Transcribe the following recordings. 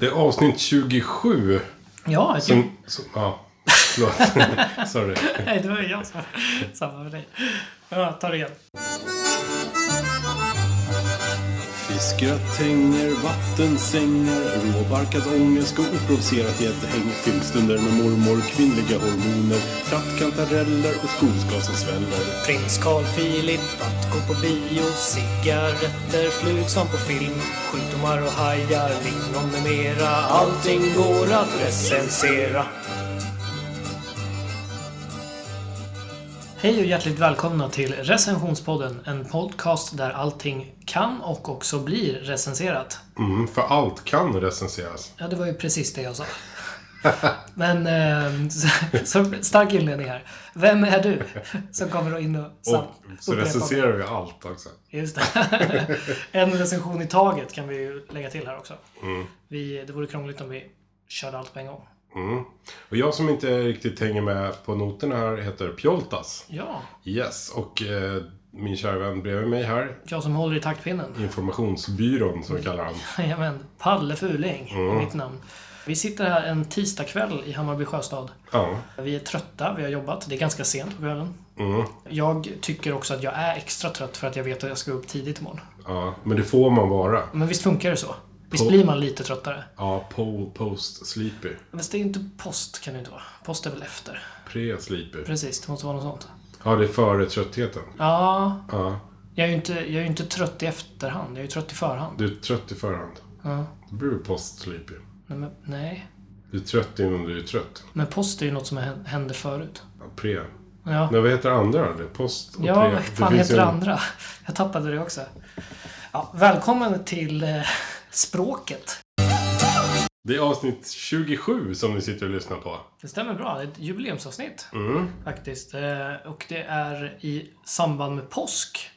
Det är avsnitt 27. Ja, alltså, ju- Som, som, ja, förlåt. Sorry. Nej, det var ju jag som... Samma för dig. Ja, ta det igen. Fiskgratänger, vattensängar, råbarkad ångest och oprovocerat gäddhäng. Filmstunder med mormor, kvinnliga hormoner, trattkantareller och skogsgas som sväller. Prins Carl Philip att gå på bio Cigaretter, flug som på film Sjukdomar och hajar, lingon med mera Allting går att recensera Hej och hjärtligt välkomna till Recensionspodden. En podcast där allting kan och också blir recenserat. Mm, för allt kan recenseras. Ja, det var ju precis det jag sa. Men, eh, så, så stark inledning här. Vem är du? Som kommer in och... Och så upprepar- recenserar vi allt också. Just det. en recension i taget kan vi ju lägga till här också. Vi, det vore krångligt om vi körde allt på en gång. Mm. Och jag som inte riktigt hänger med på noterna här heter Pjoltas. Ja, Yes, och eh, min kära vän bredvid mig här, jag som håller i taktpinnen. Informationsbyrån som vi kallar han. Jajamän, Palle Fuling Mm. är mitt namn. Vi sitter här en tisdagkväll i Hammarby Sjöstad. Ja. Vi är trötta, vi har jobbat. Det är ganska sent på kvällen. Mm. Jag tycker också att jag är extra trött för att jag vet att jag ska upp tidigt imorgon. ja, men det får man vara. Men visst funkar det så? Visst På- blir man lite tröttare? Ja, po- post-sleepy. Men det är ju inte post kan det ju inte vara. Post är väl efter? Pre-sleepy. Precis, det måste vara något sånt. Ja, det är före tröttheten. Ja, Ja, Jag är ju inte, jag är ju inte trött i efterhand, jag är ju trött i förhand. du är trött i förhand. Ja. Då blir du post-sleepy. Nej, men, nej. Du är trött innan du är trött. men post är ju något som hän- hände förut. Ja, Pre. Ja, Nej, vad heter andra då? Det är Post och ja pre. vad fan finns heter ju det en- andra? Jag tappade det också. Ja, välkommen till eh, språket. Det är avsnitt 27 som ni sitter och lyssnar på. Det stämmer bra, det är ett jubileumsavsnitt Mm. faktiskt. Eh, och det är i samband med påsk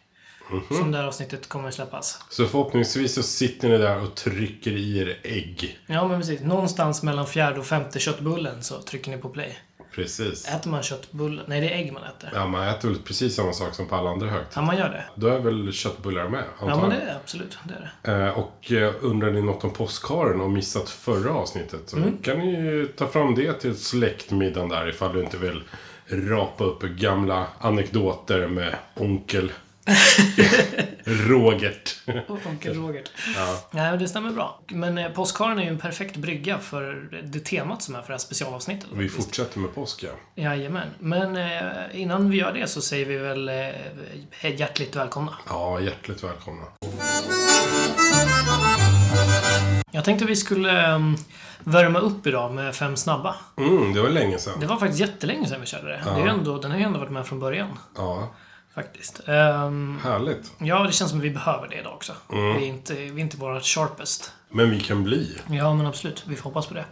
Mhm. som det här avsnittet kommer släppas. Så förhoppningsvis så sitter ni där och trycker i er ägg. Ja, men precis. Någonstans mellan fjärde och femte köttbullen så trycker ni på play. Precis. Äter man köttbullen? Nej, det är ägg man äter. Ja, man äter väl precis samma sak som på alla andra högtider. Ja, man gör det. Då är väl köttbullar med, Ja, men antagligen. det är absolut. Det är det. Eh, Och eh, undrar ni något om påskharen och missat förra avsnittet så kan ni ju ta fram det till släktmiddagen där ifall du inte vill rapa upp gamla anekdoter med onkel Rogert. Och Onkel Roger. Ja. Nej, men det stämmer bra. Men eh, påskharen är ju en perfekt brygga för det temat som är för det här specialavsnittet. Vi faktiskt. fortsätter med påsk ja. Jajamän. Men eh, innan vi gör det så säger vi väl eh, hej- hjärtligt välkomna. Ja, hjärtligt välkomna. Jag tänkte vi skulle eh, värma upp idag med fem snabba. Mm, det var länge sedan. Det var faktiskt jättelänge sedan vi körde det. det är ju ändå, den har ju ändå varit med från början. Ja, Faktiskt. Ehm, härligt. ja, det känns som att vi behöver det idag också. Vi är inte, vi är inte våra sharpest. Men vi kan bli. Ja, men absolut. Vi får hoppas på det.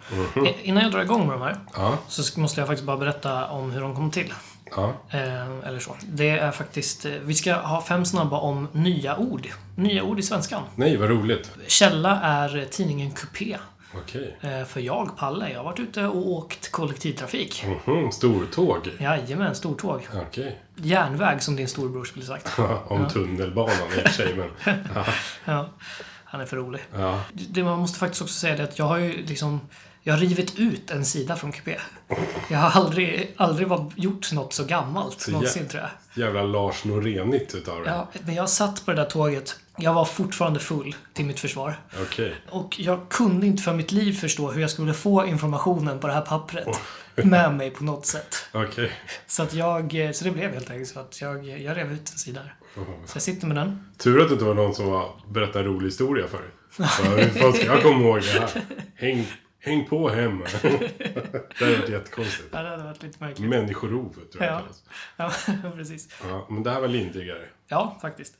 Eh, Innan jag drar igång med de här. Ja, så sk- måste jag faktiskt bara berätta om hur de kom till. ja. Eh, eller så. Det är faktiskt, eh, vi ska ha fem snabba om nya ord. Nya ord i svenskan. Nej, vad roligt. Källa är eh, tidningen Coupé. Okej. Eh, för jag, Palle, jag har varit ute och åkt kollektivtrafik. Mhm, stortåg. Jajamän, stortåg. Okej. Järnväg som din storbror skulle sagt. Om tunnelbanan i och för sig, men... Ja, han är för rolig. Ja. Det man måste faktiskt också säga det att jag har ju liksom jag har rivit ut en sida från Coupé. Jag har aldrig, aldrig var, gjort något så gammalt någonsin tror jag. Jävla Lars Norenigt utav det. Ja, men jag satt på det där tåget. Jag var fortfarande full, till mitt försvar. Okej. Och jag kunde inte för mitt liv förstå hur jag skulle få informationen på det här pappret med mig på något sätt. Okej. Så, att jag, eh, så det blev helt enkelt så att jag, jag rev ut en sida. där. Så jag sitter med den. Tur att det inte var någon som var, berättade en rolig historia för dig. Bara, Hur fan ska jag komma ihåg det här? Häng, häng på hem. det hade varit jättekonstigt. Ja, det hade varit lite märkligt. Människorov, tror jag det Ja. kallas. Ja, precis. ja, Men det här var lindrigare. Ja, faktiskt.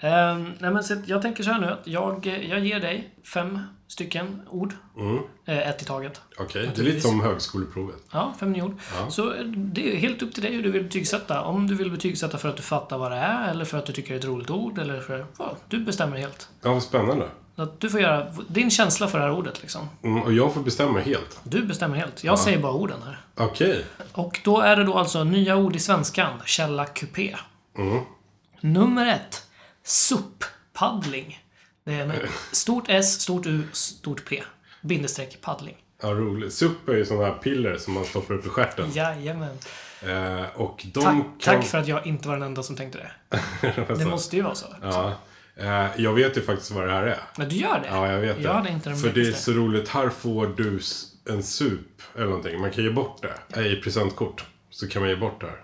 Ehm, nej, men så att jag tänker så här nu att jag, eh, jag ger dig fem stycken ord. Eh, ett i taget. Okej, det är lite som högskoleprovet. Ja, fem nya ord. Så eh, det är helt upp till dig hur du vill betygsätta. Om du vill betygsätta för att du fattar vad det är, eller för att du tycker det är ett roligt ord, eller för... Ja, du bestämmer helt. Ja, vad spännande. Så Att du får göra din känsla för det här ordet, liksom. Mm, och jag får bestämma helt. Du bestämmer helt. Jag säger bara orden här. Okej. Och då är det då alltså nya ord i svenskan, källa kupé. Mm. Nummer ett, Mm. SUP-paddling. Det är med stort S, stort U, stort P. bindestreck paddling. Ja, roligt. SUP är ju sådana här piller som man stoppar upp i stjärten. Jajamän. Eh, och de Tack, kan... tack för att jag inte var den enda som tänkte det. Det måste ju vara så. Alltså. Ja. Eh, jag vet ju faktiskt vad det här är. Men du gör det? Ja, jag vet det. Jag hade inte den För det är blekaste. så roligt. Här får du s- en sup eller någonting. Man kan ge bort det. Eh, I presentkort. Så kan man ge bort det här.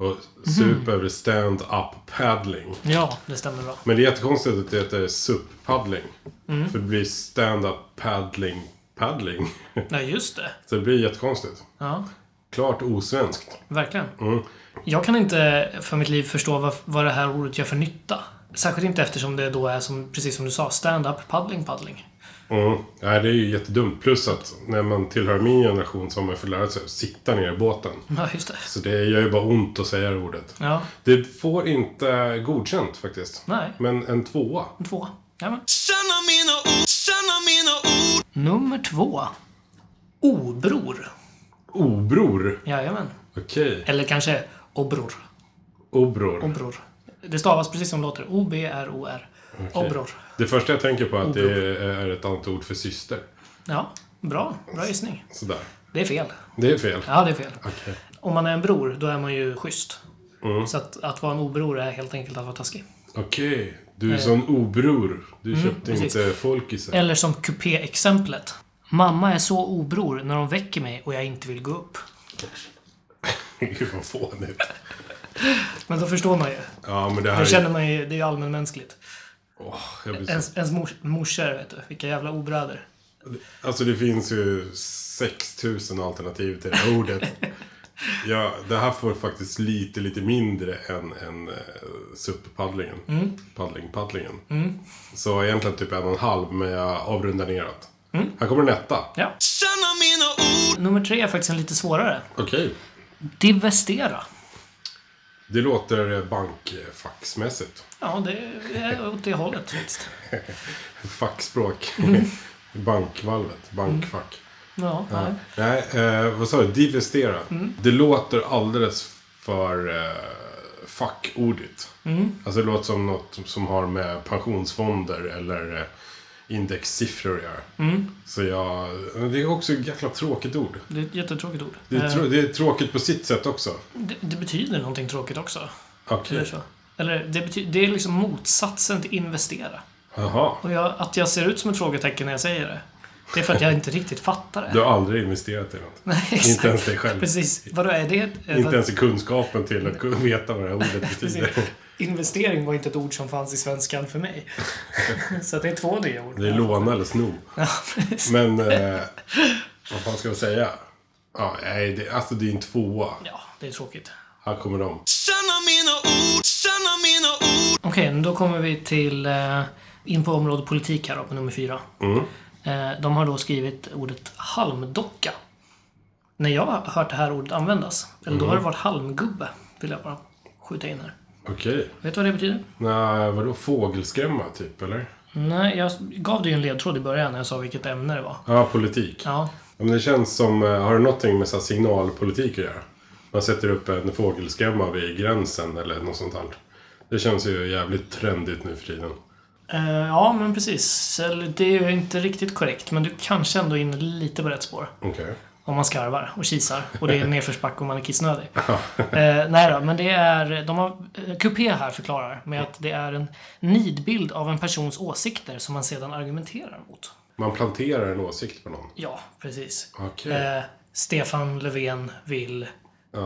Och Mhm. sup är väl stand-up paddling. Ja, det stämmer bra. Men det är jättekonstigt att det heter sup-paddling. Mm. För det blir stand-up paddling paddling. Nej, just det. så det blir jättekonstigt. Ja, Klart osvenskt. verkligen. Mm. Jag kan inte för mitt liv förstå vad, vad det här ordet gör för nytta. Särskilt inte eftersom det då är som, precis som du sa, stand-up paddling paddling. Mm. Nej, det är ju jättedumt. Plus att när man tillhör min generation så har man fått lära sig att sitta ner i båten. Ja, just det. Så det gör ju bara ont att säga det ordet. Ja, Det får inte godkänt faktiskt. nej. Men en tvåa. En tvåa. Jajamän. Känna mina ord, känna mina ord Nummer två. Obror. Obror. Jajamän. Okej. Eller kanske obror. Obror. Obror. Det stavas precis som det låter. O-B-R-O-R. Obror. Det första jag tänker på är att det är ett annat ord för syster. Ja, bra. Bra gissning. Sådär. Det är fel. Det är fel. Ja, det är fel. Okej. Om man är en bror, då är man ju schysst. Mm. Så att, att vara en obror är helt enkelt att vara taskig. Okej. Du är sån obror. Du köpte Eh. Mm, precis. inte folkisar. Eller som kupé-exemplet. Mamma är så obror när hon väcker mig och jag inte vill gå upp. Gud vad fånigt. Men då förstår man ju. Ja men det Det här känner är... man ju, det är ju allmänmänskligt. Åh, jag blir så... Ens, ens mors, morsor, vet du. Vilka jävla obröder. Alltså det finns ju 6000 alternativ till det här ordet. Ja, det här får faktiskt lite, lite mindre än, än uh, SUP-paddlingen. Paddling, paddlingen. Så egentligen typ en och en halv, men jag avrundar neråt. Här kommer en etta. Ja. Känna mina ord Nummer tre är faktiskt en lite svårare. Okej. Divestera. Det låter bankfaxmässigt. Ja, det är åt det hållet faktiskt. Fackspråk. Bankvalvet. Bankfack. Ja, nej. Nej, eh, vad sa du? Divestera. Mm. Det låter alldeles för eh, fackordigt. Mm. Alltså det låter som något som, som har med pensionsfonder eller eh, indexsiffror att göra. Mm. Så jag... Det är också ett jäkla tråkigt ord. Det är ett jättetråkigt ord. Det är, Eh, trå- det är tråkigt på sitt sätt också. det, det betyder någonting tråkigt också. Okej. Eller så. Eller det, betyder, det är liksom motsatsen till investera. Jaha. Och jag, att jag ser ut som ett frågetecken när jag säger det. Det är för att jag inte riktigt fattar det. Du har aldrig investerat i något. Nej, exakt. Inte ens dig själv. Precis. Vadå, är det... eh, Inte vad- ens i kunskapen till att kunna veta vad det här ordet precis. betyder. Investering var inte ett ord som fanns i svenskan för mig. så att det är två nya ord. Det är låna eller sno. Ja, precis. Men eh, vad fan ska jag säga? Ja, nej, det, alltså det är en tvåa. ja, det är tråkigt. Här kommer de. Känna mina ord, känna mina ord Okej, men då kommer vi till... Eh, in på området politik här då, på nummer fyra. Eh, de har då skrivit ordet halmdocka. När jag har hört det här ordet användas, eller då har det varit halmgubbe, vill jag bara skjuta in här. Okej. Vet du vad det betyder? Nej, vadå fågelskrämma typ, eller? Nej, jag gav dig ju en ledtråd i början när jag sa vilket ämne det var. Ja, politik. Ja. Ja, men det känns som, eh, har det någonting med så här, signalpolitik att göra? Man sätter upp en fågelskrämma vid gränsen eller något sånt här. Det känns ju jävligt trendigt nu för tiden. eh, ja men precis. Eller, Det är ju inte riktigt korrekt, men du kanske ändå är inne lite på rätt spår. Okej. Om man skarvar och kisar och det är nedförsbacke och man är kissnödig. eh, nej då, men det är... De har, eh, Coupé här förklarar med att det är en nidbild av en persons åsikter som man sedan argumenterar mot. Man planterar en åsikt på någon. Ja, precis. Okej. Eh, Stefan Löfven vill,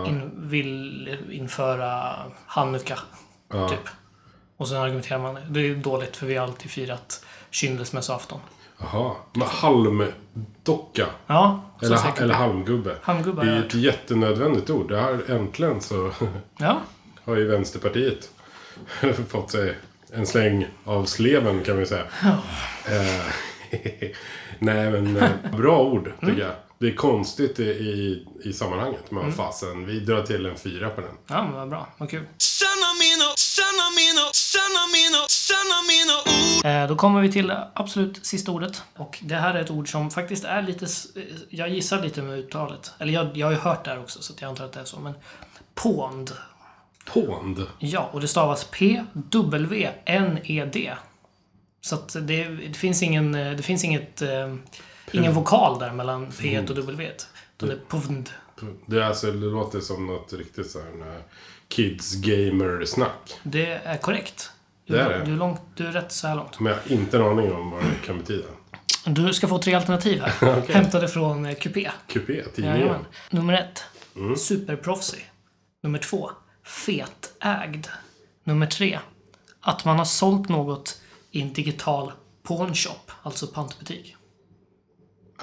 in, vill införa handduka, typ. Och sen argumenterar man. Det är dåligt för vi har alltid firat kyndelsmässoafton. Jaha. Men halmdocka. Ja, så Eller, säkert. eller halmgubbe. Halmgubbe Det har är jag ett jättenödvändigt ord. Det här, äntligen så Ja, har ju Vänsterpartiet fått sig en släng av sleven kan vi säga. Eh, Nej men eh, bra ord tycker jag. Det är konstigt i, i, i sammanhanget. Men vad fasen, vi drar till en fyra på den. ja men vad bra. Vad kul. Känna mina, känna mina, känna mina, känna mina ord Eh, Då kommer vi till det absolut sista ordet. Och det här är ett ord som faktiskt är lite... s- eh, Jag gissar lite med uttalet. Eller jag, jag har ju hört det här också, så att jag antar att det är så. Men pond. Pond. Ja, och det stavas E P-W-N-E-D. Så att det, det, finns ingen, eh, det finns inget eh, Mm. Ingen vokal där mellan P1 och W. Utan det är pund. Det, är alltså, det låter som något riktigt så här eh, kids gamer snack. Det är korrekt. Du, Det är det. Du, är långt, du är rätt så här långt. Men jag har inte en aning om vad det kan betyda. Du ska få tre alternativ här. Hämtade från eh, Coupé. Kupé, tidningen. Jajamän. Nummer ett. Mm. Superproffsig. Nummer två. Fetägd. Nummer tre. Att man har sålt något i en digital pawnshop, alltså pantbutik.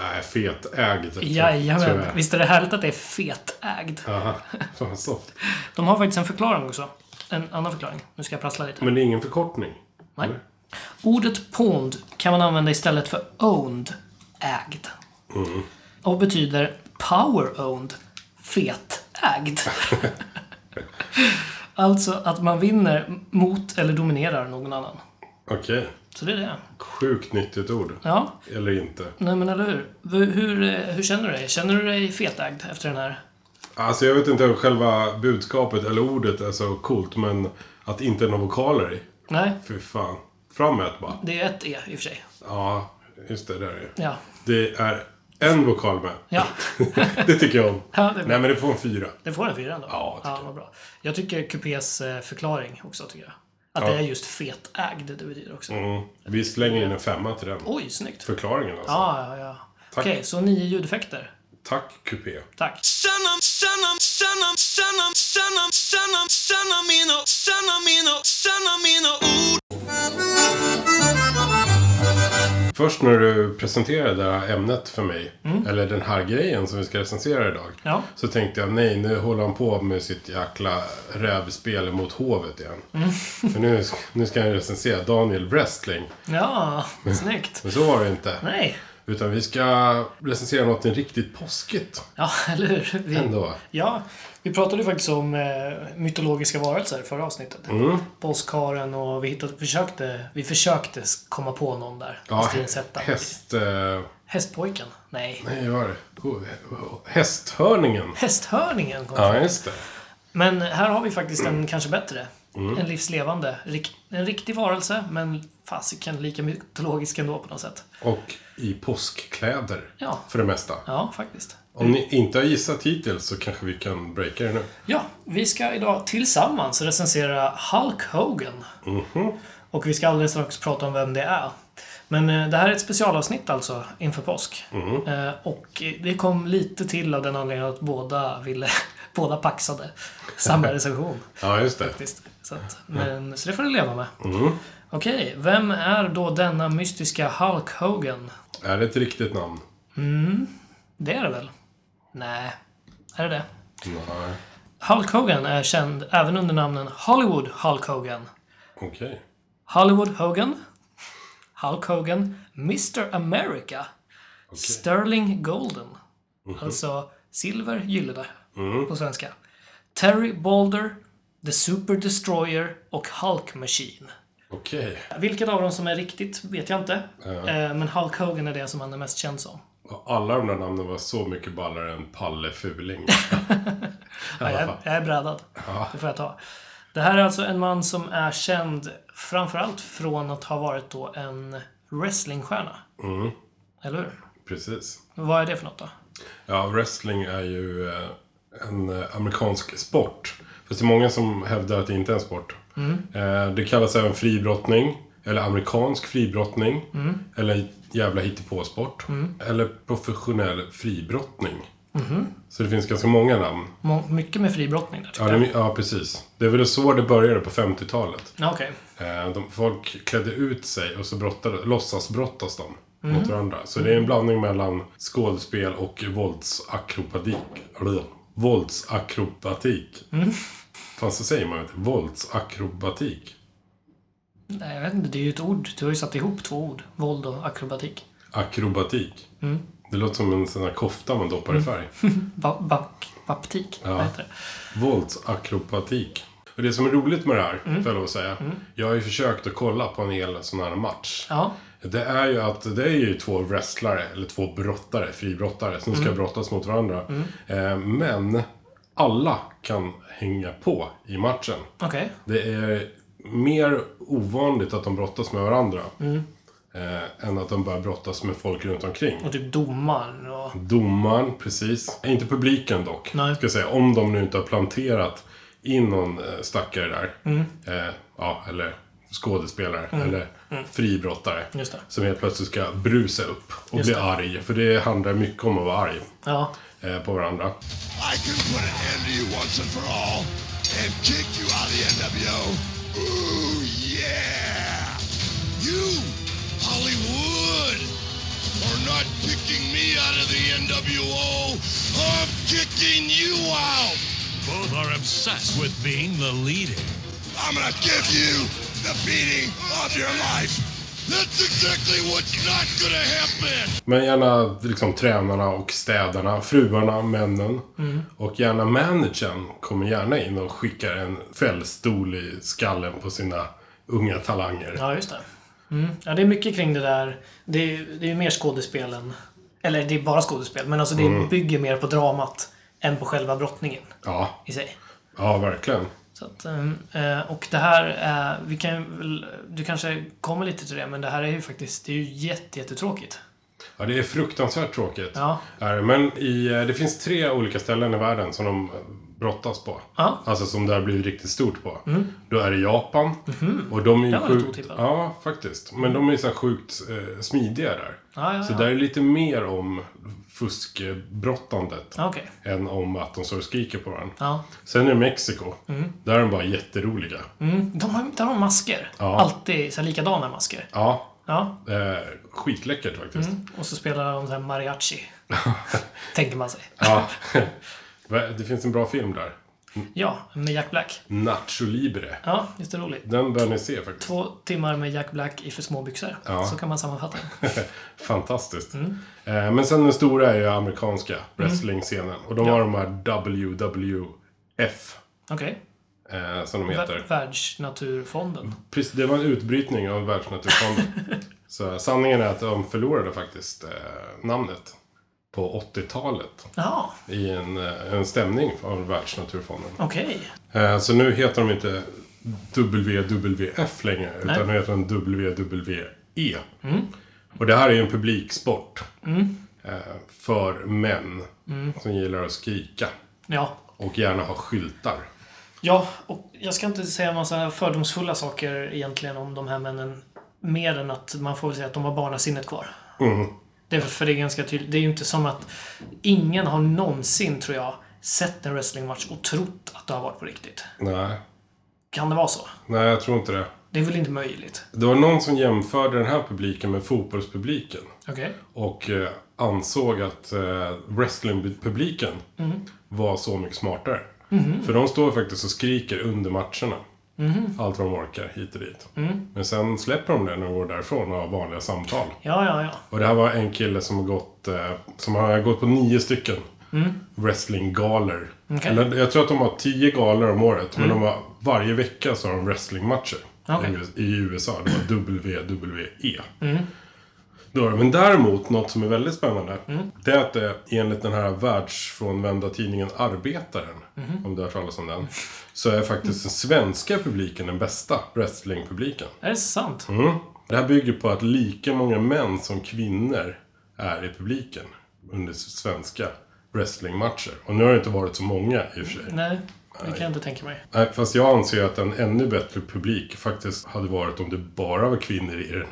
Nej, fetägd. tror- tror Jajamän. jag. Visst är det härligt att det är fetägd? Aha, fan soft. De har faktiskt en förklaring också. En annan förklaring. Nu ska jag prassla lite. Men det är ingen förkortning. Nej. Ordet pond kan man använda istället för owned, ägd. Och betyder power owned, fetägd. alltså att man vinner mot eller dominerar någon annan. Okej. Så det är det. Sjukt nyttigt ord. Ja, Eller inte. nej men eller hur? V- Hur, eh, hur känner du dig? Känner du dig fetägd efter den här? Alltså jag vet inte om själva budskapet eller ordet är så coolt, men att inte några vokaler i. Nej, Fy fan. Fram med ett bara. det är ett E i och för sig. Ja, just det. Där är det. Ja, Det är en vokal med. ja. det tycker jag om. Ja, det är bra. Nej, men det får en fyra. det får en fyra ändå. Ja, tycker ja jag. vad bra. Jag tycker Coupés eh, förklaring också, tycker jag. Att Ja. det är just fetägd det betyder också. Mm. Vi slänger in en femma till den. Oj, snyggt. Förklaringen alltså. Ja, ja, ja. Tack. Okej, så nio ljudeffekter. Tack, Coupé. Tack. Shanna, Shanna, Shanna, Shanna, Shanna, Shanna, Shanna mina, Shanna mina, Shanna mina ord. Först när du presenterade det här ämnet för mig, eller den här grejen som vi ska recensera idag, Mm. Ja. så tänkte jag nej, nu håller han på med sitt jäkla rävspel mot hovet igen. Mm. För nu, nu ska han recensera Daniel Wrestling. Ja, snyggt. Men så var det inte. Nej. Utan vi ska recensera något riktigt påskigt Ja, eller hur? Vi, ändå. ja, vi pratade ju faktiskt om eh, mytologiska varelser förra avsnittet. Mm. Påskharen och vi, hittade, försökte, vi försökte komma på någon där. Ja, Fast det är en sätta. häst... Eh, Hästpojken? Nej. nej, vad var det? Ho- ho- Hästhörningen. Hästhörningen kom Ja, just det. Men här har vi faktiskt en kanske bättre. En livslevande. Rik, en riktig varelse, men fasiken lika mytologisk ändå på något sätt. Och i påskkläder. Ja. För det mesta. Ja, faktiskt. Om ni inte har gissat hittills så kanske vi kan breaka det nu. Ja, vi ska idag tillsammans recensera Hulk Hogan. Och vi ska alldeles strax prata om vem det är. Men eh, det här är ett specialavsnitt alltså, inför påsk. Eh, och eh, det kom lite till av den anledningen att båda ville, båda paxade samma recension. Ja, just det. Faktiskt. Så, att, men, så det får du leva med. Okej, vem är då denna mystiska Hulk Hogan? Är det ett riktigt namn? Det är det väl? Nej, är det det? Nej. Hulk Hogan är känd även under namnen Hollywood Hulk Hogan, Okej. Hollywood Hogan, Hulk Hogan, Mr America, Sterling Golden, alltså silver gyllene på svenska, Terry Boulder, The Super Destroyer och Hulk Machine. Okej. Vilket av dem som är riktigt vet jag inte, Eh, men Hulk Hogan är det som han är mest känd som. Och Alla de där namnen var så mycket ballare än Palle Fuling. Ja, jag, är- jag är brädad. Det får jag ta. Det här är alltså en man som är känd framförallt från att ha varit då en wrestlingstjärna. Mm. Eller hur? Precis. Vad är det för något då? Ja, wrestling är ju eh, en eh, amerikansk sport. Fast det är många som hävdar att det inte är en sport. Eh, Det kallas även fribrottning. Eller amerikansk fribrottning. Eller jävla hittepåsport. Eller professionell fribrottning. Så det finns ganska många namn. Må- mycket med fribrottning där Ja, tycker jag. det, ja, precis. Det är väl så det började på 50-talet. Ja, Okej. Eh, de, folk klädde ut sig och så brottade, låtsasbrottas de mot varandra. Så det är en blandning mellan skådespel och våldsakrobatik. Eller, Våldsakrobatik. Fan, så säger man inte. Våldsakrobatik. Nej, jag vet inte. Det är ju ett ord. Du har ju satt ihop två ord. Våld och akrobatik. Akrobatik. Det låter som en sån här kofta man doppar i färg. Ba- bak- baptik. Vad heter det? Våldsakrobatik. Och det som är roligt med det här, får jag lov att säga. Jag har ju försökt att kolla på en hel sån här match. Ja. Det är ju att det är ju två wrestlare, eller två brottare, fribrottare, som ska brottas mot varandra. Eh, men alla kan hänga på i matchen. Okej. Det är mer ovanligt att de brottas med varandra. eh, än att de börjar brottas med folk runt omkring. Och typ domaren och... Domaren, precis. Inte publiken dock. Nej. Ska jag säga, om de nu inte har planterat in någon eh, stackare där. Mm. Eh, ja, eller skådespelare. Eller fribrottare. Mm. Just det. Som helt plötsligt ska brusa upp och bli arg. För det handlar mycket om att vara arg Ja. eh, på varandra. I can put an end to you once and for all and kick you out of the NWO. Ooh, yeah! You, Hollywood, are not kicking me out of the NWO. I'm kicking you out. Both are obsessed with being the leader. I'm gonna give you the beating of your life. That's exactly what's not gonna happen. Men gärna liksom tränarna och städarna, fruarna, männen. Mm. Och gärna managern kommer gärna in och skickar en fällstol i skallen på sina unga talanger. Ja, just det. Mm. Ja, det är mycket kring det där. Det är ju det är ju mer skådespel än... Eller det är bara skådespel, men alltså det bygger mer på dramat än på själva brottningen Ja, i sig. ja verkligen. Så att, eh, och det här är... Vi kan, väl- du kanske kommer lite till det, men det här är ju faktiskt... Det är ju jätte, jättetråkigt. Ja, det är fruktansvärt tråkigt. Ja. Är det. Men i, eh, det finns tre olika ställen i världen som de eh, brottas på. Ja. Mm. Alltså som det har blivit riktigt stort på. Då är det Japan. Och de är ju Mhm. Det var lite sjukt... otippat. Ja, faktiskt. Men de är ju så här sjukt eh, smidiga där. Ja, ja, Så ja. där är lite mer om fuskbrottandet. Ja, Okej. Än om att de står och skriker på varandra. Ja. Sen är det Mexiko. Där är de bara jätteroliga. Mm. De har, där har de masker. Ja. Alltid så här likadana masker. Ja, Ja. eh, skitläckert faktiskt. Och så spelar de så här mariachi. tänker man sig. Ja. det finns en bra film där. Ja, med Jack Black. Nacho Libre. Ja, just det roligt. Den bör ni se faktiskt. Två timmar med Jack Black i för små byxor. Ja. Så kan man sammanfatta det. Fantastiskt. Eh, men sen den stora är ju amerikanska wrestlingscenen. Och de har de här WWF. Okej. Eh, som de Vär- heter. Världsnaturfonden. Precis, det var en utbrytning av Världsnaturfonden. Så sanningen är att de förlorade faktiskt eh, namnet på 80-talet Ja, i en, eh, en stämning av Världsnaturfonden. okej. Eh, så nu heter de inte WWF längre, Nej. utan nu heter de WWE. Och det här är ju en publiksport eh, för män som gillar att skrika Ja. och gärna ha skyltar. ja, och jag ska inte säga en massa fördomsfulla saker egentligen om de här männen. Mer än att man får väl säga att de har barnasinnet kvar. Mm. Det är, för det är ganska tydligt. Det är ju inte som att ingen har någonsin, tror jag, sett en wrestlingmatch och trott att det har varit på riktigt. Nej, Kan det vara så? nej jag tror inte det. Det är väl inte möjligt? Det var någon som jämförde den här publiken med fotbollspubliken. Okej. och eh, ansåg att eh, wrestlingpubliken var så mycket smartare. För de står faktiskt och skriker under matcherna. Allt vad de orkar, hit och dit. Men sen släpper de det när de går därifrån och har vanliga samtal. Ja, ja, ja. Och det här var en kille som har gått, eh, som har gått på nio stycken wrestlinggalor. Mm. Okej. Mm. Eller Jag tror att de har tio galor om året, men de har, varje vecka så har de wrestlingmatcher Okej. Mm. i US- i USA. Det var WWE. E. Då har de- Men däremot, något som är väldigt spännande, Mm. det är att det enligt den här världsfrånvända tidningen Arbetaren, Mm-hmm. om du har hört talas om den, så är faktiskt den svenska publiken den bästa wrestlingpubliken. Är det sant? Mm. Det här bygger på att lika många män som kvinnor är i publiken under svenska wrestlingmatcher. Och nu har det inte varit så många i och för sig. Nej, det kan jag inte tänka mig. Nej, fast jag anser att en ännu bättre publik faktiskt hade varit om det bara var kvinnor i den.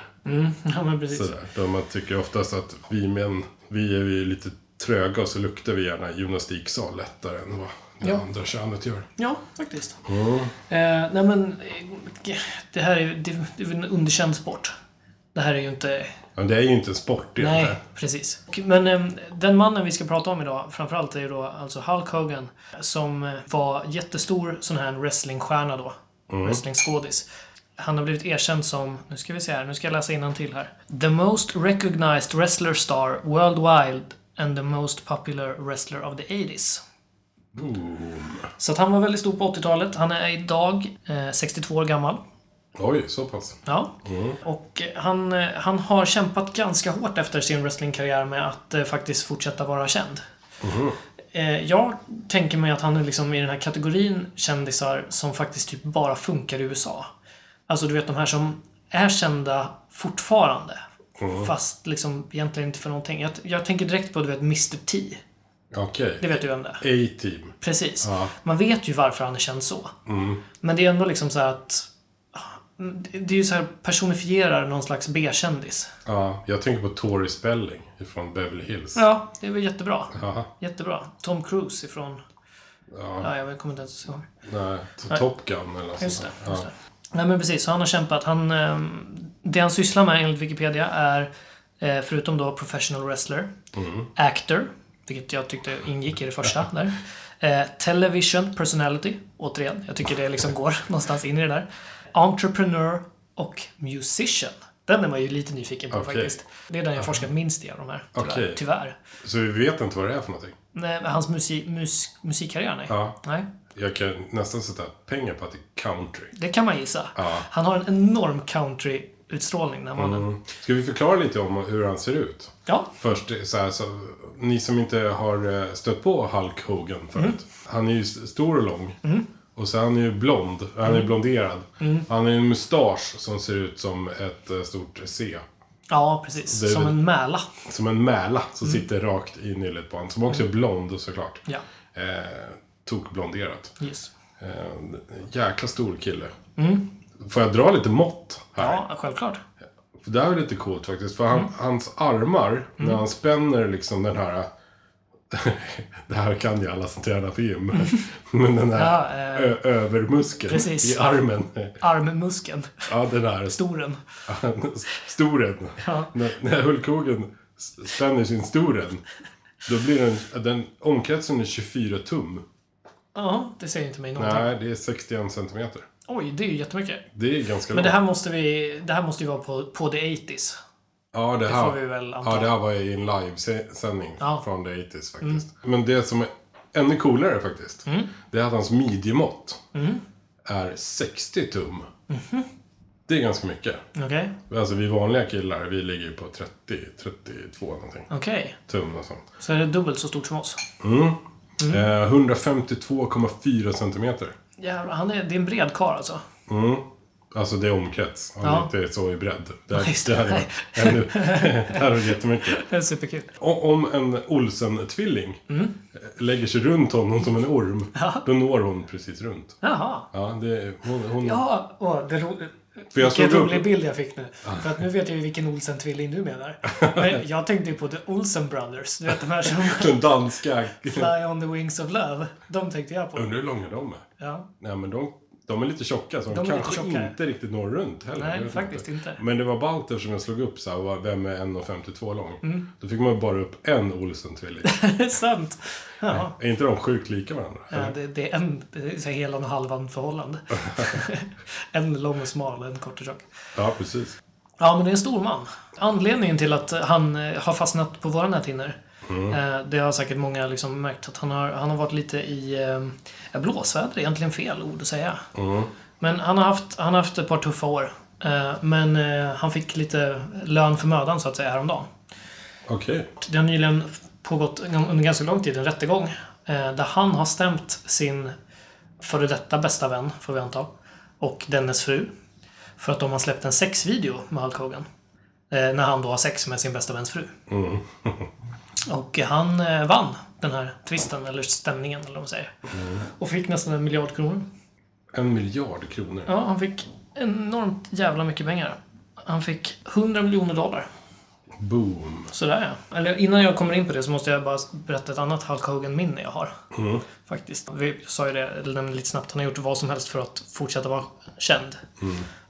Ja, men precis. Sådär. Då man tycker oftast att vi män, vi är ju lite tröga och så luktar vi gärna gymnastiksal lättare än vad det Ja. andra könet gör. Ja, faktiskt. Eh, nej, men eh, det här är ju det, det är väl en underkänd sport. Det här är ju inte... Men det är ju inte en sport det är Nej, det. precis. Och- Men eh, den mannen vi ska prata om idag, framförallt, är ju då alltså Hulk Hogan. Som eh, var jättestor sån här wrestlingstjärna då. Wrestlingskådis. Han har blivit erkänd som, nu ska vi se här, nu ska jag läsa till här. The most recognized wrestler star worldwide and the most popular wrestler of the 80s. Så att han var väldigt stor på 80-talet. Han är idag eh, 62 år gammal. Oj, så pass. Ja. Och eh, han, eh, han har kämpat ganska hårt efter sin wrestlingkarriär med att eh, faktiskt fortsätta vara känd. Eh, jag tänker mig att han är liksom i den här kategorin kändisar som faktiskt typ bara funkar i USA. Alltså du vet de här som är kända fortfarande. Fast liksom egentligen inte för någonting. Jag, jag tänker direkt på du vet Mr T. Okej. Det vet du vem det är. A-team. Precis. Ja. Mm. Man vet ju varför han är känd så. Men det är ändå liksom så här att... Det är ju så här personifierar någon slags B-kändis. Ja, jag tänker på Tori Spelling från Beverly Hills. Ja, det är väl jättebra. Ja. Jättebra. Tom Cruise ifrån... ja. Ja, jag kommer inte ens ihåg. Nej, to- Top Gun eller något Just det. sånt där. Just det. Nej men precis, så han har kämpat. Han, eh, det han sysslar med enligt Wikipedia är, eh, förutom då professional wrestler, Mm. actor, vilket jag tyckte ingick i det första där. Eh, television personality, återigen. Jag tycker det liksom går någonstans in i det där. Entreprenör och musician. Den är man ju lite nyfiken på Okej. faktiskt. Det är den jag forskat minst i av de här. Tyvärr. Okej. tyvärr. Ja. Så vi vet inte vad det är för någonting. Nej, men hans musik, mus, musikkarriär, nej. Ja. nej. Jag kan nästan sätta pengar på att det är country. Det kan man gissa. Ja. Han har en enorm country-utstrålning, den mannen. Mm. Ska vi förklara lite om hur han ser ut? Ja, Först, eh, så här, så, ni som inte har eh, stött på Hulk Hogan förut. Han är ju s- stor och lång. Och så är han ju blond. Han är blonderad. Han har ju en mustasch som ser ut som ett eh, stort C. ja precis. Det är Som väl- en mäla. Som en mäla som sitter rakt i nyllet på honom. Som också är blond såklart. Ja, Eh, Tokblonderat. yes. Eh, jäkla stor kille. Får jag dra lite mått här? Mm. Ja, Mm. självklart. För det här är lite coolt faktiskt. För han, hans armar, när Mm. han spänner liksom den här... det här kan ju alla som tränar på gym. Men den här Ja, eh, ö- övermuskeln precis. i armen. Armmuskeln. ja, den här Storen. storen. Ja. När, när Hulk Hogan s- spänner sin storen, då blir den... den omkretsen är 24 tum. Ja, det säger inte mig någonting. Nej, det är 61 centimeter. Oj, det är ju jättemycket. Det är ganska Men långt. det här måste vi... Det här måste ju vara på, på the 80s. Ja, det Det här, får vi väl anta. Ja, det här var i en livesändning Ja. Mm. från The 80s faktiskt. Men det som är ännu coolare faktiskt, det är att hans midjemått Mm. är 60 tum. Mhm. Det är ganska mycket. Okej? Alltså vi vanliga killar, vi ligger ju på 30, 32 någonting. Okej. Tum och sånt. Så är det dubbelt så stort som oss. Mm. Eh, 152,4 centimeter. Jävlar, han är, det är en bred karl alltså. Alltså det är omkrets, om Ja. det inte är så i bredd. Det Ja, just här, det. det här är ännu, det här är jättemycket. Det är superkul. O- Om en Olsen-tvilling Mm. eh, lägger sig runt honom som en orm, då når hon precis runt. Jaha. Ja, det, är- hon, hon, Ja, åh, det ro... För jag Vilken slog upp- rolig bild jag fick nu. För att nu vet jag ju vilken Olsen-tvilling du menar. Men jag tänkte ju på The Olsen Brothers. Du vet de här som... Den danska... Fly on the wings of love. De tänkte jag på. Undrar hur långa de är? Ja. Nej, men de, de är lite tjocka, så de, De är lite kanske tjockare. inte riktigt når runt heller. Nej, Jag vet faktiskt inte. Men det var Balter som jag slog upp, så här, var- vem är 1,52 lång? Mm. Då fick man bara upp en Olsen-tvilling. Det är sant. Ja. är inte de sjukt lika varandra? Ja, det, det är en det är så här helan och halvan förhållande. en lång och smal, en kort och tjock. Ja, precis. Ja, men det är en stor man. Anledningen till att han eh, har fastnat på våra näthinnor, eh, det har säkert många liksom märkt, att han har, han har varit lite i eh, blåsväder, är egentligen fel ord att säga. Men han har, haft, han har haft ett par tuffa år. Eh, men eh, han fick lite lön för mödan så att säga häromdagen. Okej. Det har nyligen pågått under ganska lång tid en rättegång eh, där han har stämt sin före detta bästa vän, får vi anta, och dennes fru för att de har släppt en sexvideo med Hulk Hogan. eh, När han då har sex med sin bästa väns fru. Och eh, han eh, vann den här tvisten, eller stämningen eller vad man säger. Och fick nästan en miljard kronor. En miljard kronor. Ja, han fick enormt jävla mycket pengar. Han fick 100 miljoner dollar. Boom. Sådär ja. Eller innan jag kommer in på det så måste jag bara berätta ett annat Hulk Hogan-minne jag har. Faktiskt. Vi sa ju det, eller nämnde lite snabbt, han har gjort vad som helst för att fortsätta vara känd.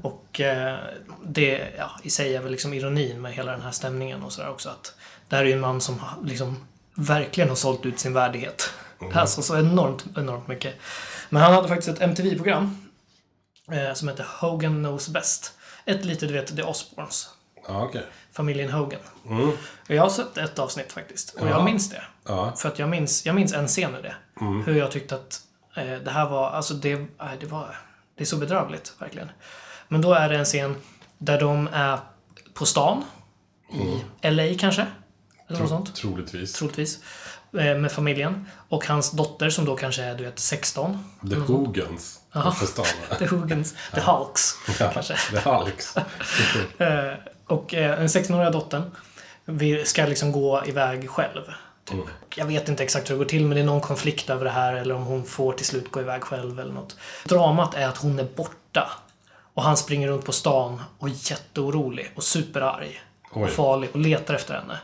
Och eh, det ja, i sig är väl liksom ironin med hela den här stämningen och sådär också. Att det här är ju en man som har- liksom verkligen har sålt ut sin värdighet. Alltså så enormt, enormt mycket. Men han hade faktiskt ett MTV-program eh, som hette Hogan Knows Best. Ett lite, du vet, The Osbournes. Ja, okej. Familjen Hogan. Jag har sett ett avsnitt faktiskt. Och jag minns det. Mm. Ja. Mm. För att jag minns, jag minns en scen ur det. Hur jag tyckte att eh, det här var, alltså det, nej, det var, det är så bedrövligt verkligen. Men då är det en scen där de är på stan. Mm. I LA kanske? Eller något sånt. Troligtvis. Troligtvis. Eh, Med familjen. Och hans dotter som då kanske är, du vet, 16. The Hogans. Ja. På stan. The Hogans. The Hulks. Ja, Kanske. The Hulks. Och eh, den 16-åriga dottern vill- ska liksom gå iväg själv. Typ. Mm. Jag vet inte exakt hur det går till, men det är någon konflikt över det här eller om hon får till slut gå iväg själv eller något. Dramat är att hon är borta. Och han springer runt på stan och är jätteorolig och superarg. Oj. Mm. Och farlig och letar efter henne.